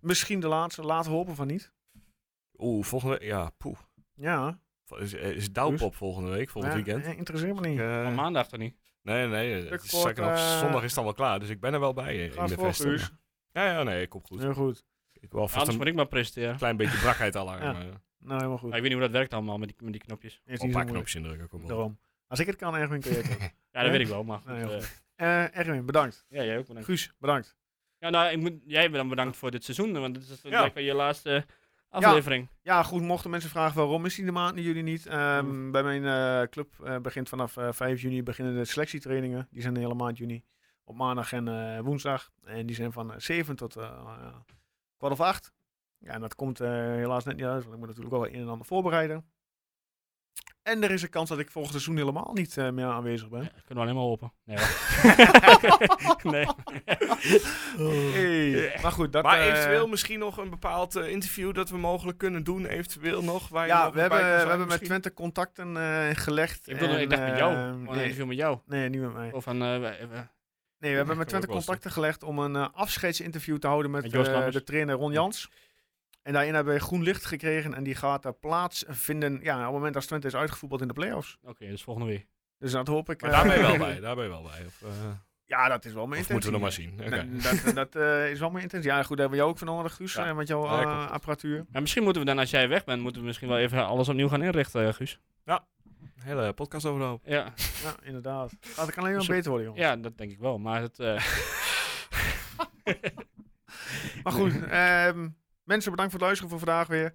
[SPEAKER 1] Misschien de laatste. Laten we hopen van niet.
[SPEAKER 4] Oeh, volgende week. Ja, poeh.
[SPEAKER 1] Ja.
[SPEAKER 4] Is, is Douwpop volgende week, volgend
[SPEAKER 1] ja,
[SPEAKER 4] weekend?
[SPEAKER 1] eh, Interesseert me niet.
[SPEAKER 5] Maar
[SPEAKER 4] Eh,
[SPEAKER 5] maandag toch niet?
[SPEAKER 4] nee, nee. Het is
[SPEAKER 1] kort,
[SPEAKER 4] zakken op
[SPEAKER 1] eh,
[SPEAKER 4] zondag is het al wel klaar, dus ik ben er wel bij eh, in
[SPEAKER 1] Gaat
[SPEAKER 4] de
[SPEAKER 1] voor,
[SPEAKER 4] vesting.
[SPEAKER 1] Guus.
[SPEAKER 4] Ja, ja, nee, ik kom goed.
[SPEAKER 1] Heel goed.
[SPEAKER 4] Ik wil vast
[SPEAKER 5] Anders
[SPEAKER 4] een
[SPEAKER 5] moet ik maar presteren.
[SPEAKER 4] klein beetje brakheid alarm.
[SPEAKER 1] Ja.
[SPEAKER 4] eh,
[SPEAKER 1] Nou, helemaal
[SPEAKER 5] Maar
[SPEAKER 1] goed.
[SPEAKER 5] ik weet niet hoe dat werkt allemaal met die, met die knopjes.
[SPEAKER 1] Is
[SPEAKER 4] Op een
[SPEAKER 1] niet zo
[SPEAKER 4] paar
[SPEAKER 1] moeilijk.
[SPEAKER 4] knopjes indrukken, kom op.
[SPEAKER 1] Daarom. Als ik het kan, Erwin, kun je het ook.
[SPEAKER 5] Ja, dat
[SPEAKER 1] Ja?
[SPEAKER 5] weet ik wel, maar goed.
[SPEAKER 1] Nee, heel
[SPEAKER 5] eh,
[SPEAKER 1] Eh, Erwin, bedankt.
[SPEAKER 5] ja, jij ook bedankt.
[SPEAKER 1] Guus, bedankt.
[SPEAKER 5] Ja, nou, ik moet, jij dan bedankt voor dit seizoen, want dit is
[SPEAKER 4] Ja.
[SPEAKER 5] blijkbaar je laatste aflevering.
[SPEAKER 1] Ja, goed, mochten mensen vragen waarom is die de maand en jullie niet. Ehm,
[SPEAKER 4] Mm.
[SPEAKER 1] Bij mijn eh, club eh, begint vanaf eh, 5 juni beginnen de selectietrainingen. Die zijn de hele maand juni. Op maandag en eh, woensdag. En die zijn van eh, 7 tot eh, eh, kwart of 8. Ja, en dat komt eh, helaas net niet uit, want ik moet natuurlijk wel een en ander voorbereiden. En er is een kans dat ik volgend seizoen helemaal niet eh, meer aanwezig ben.
[SPEAKER 5] Ja, kunnen we alleen maar hopen. Nee, hoor. nee. Oh.
[SPEAKER 1] Hey, Maar goed, dat...
[SPEAKER 4] maar
[SPEAKER 1] eh,
[SPEAKER 4] eventueel misschien nog een bepaald eh, interview dat we mogelijk kunnen doen. Eventueel nog. Waar je
[SPEAKER 1] Ja,
[SPEAKER 4] nog
[SPEAKER 1] we
[SPEAKER 4] bij
[SPEAKER 1] hebben,
[SPEAKER 4] kan
[SPEAKER 1] we
[SPEAKER 4] zijn
[SPEAKER 1] hebben met
[SPEAKER 4] misschien.
[SPEAKER 1] Twente contacten eh, gelegd.
[SPEAKER 5] Ik, bedoel,
[SPEAKER 1] en,
[SPEAKER 5] ik dacht met jou.
[SPEAKER 1] eh,
[SPEAKER 5] Gewoon een
[SPEAKER 1] nee,
[SPEAKER 5] interview met jou.
[SPEAKER 1] nee, niet met mij.
[SPEAKER 5] Of van, eh, we- we-
[SPEAKER 1] Nee, we hebben met
[SPEAKER 4] kan
[SPEAKER 1] Twente
[SPEAKER 4] ook wel
[SPEAKER 1] contacten gelegd om een eh, afscheidsinterview te houden met,
[SPEAKER 5] Met Joost
[SPEAKER 1] eh,
[SPEAKER 5] Lammers.
[SPEAKER 1] de trainer Ron Jans. En daarin hebben we groen licht gekregen en die gaat daar plaatsvinden. Ja, op het moment dat Twente is uitgevoetbald in de play-offs.
[SPEAKER 5] oké, dus volgende week.
[SPEAKER 1] Dus dat hoop ik.
[SPEAKER 4] Maar
[SPEAKER 1] eh,
[SPEAKER 4] daar ben je wel bij. Daar ben je wel bij. Of, eh,
[SPEAKER 1] Ja, dat is wel mijn
[SPEAKER 4] of
[SPEAKER 1] intentie.
[SPEAKER 4] moeten we nog maar zien. Oké.
[SPEAKER 1] Nee, dat dat eh, is wel mijn intentie. Ja, goed, daar hebben we jou ook van nodig, Guus,
[SPEAKER 4] Ja.
[SPEAKER 1] en met jouw
[SPEAKER 4] Ja,
[SPEAKER 1] eh,
[SPEAKER 4] klopt.
[SPEAKER 1] apparatuur.
[SPEAKER 5] Maar misschien moeten we dan, als jij weg bent, moeten we misschien wel even alles opnieuw gaan inrichten, eh, Guus.
[SPEAKER 4] Hele podcast over de hoop.
[SPEAKER 5] Ja,
[SPEAKER 1] Ja, inderdaad. Gaat het kan alleen maar
[SPEAKER 5] Zo-
[SPEAKER 1] beter worden, jongen.
[SPEAKER 5] ja dat denk ik wel. Maar het, eh,
[SPEAKER 1] Maar goed, ehm, mensen bedankt voor het luisteren voor vandaag weer.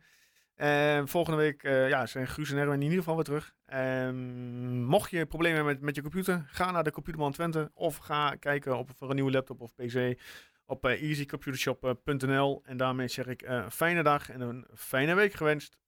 [SPEAKER 1] Ehm, volgende week eh, ja, zijn Guus en Erwin in ieder geval weer terug. Ehm, mocht je problemen hebben met, met je computer, ga naar de Computerman Twente. Of ga kijken op, voor een nieuwe laptop of pc eh, op eh, easycomputershop.nl. En daarmee zeg ik eh, fijne dag en een fijne week gewenst.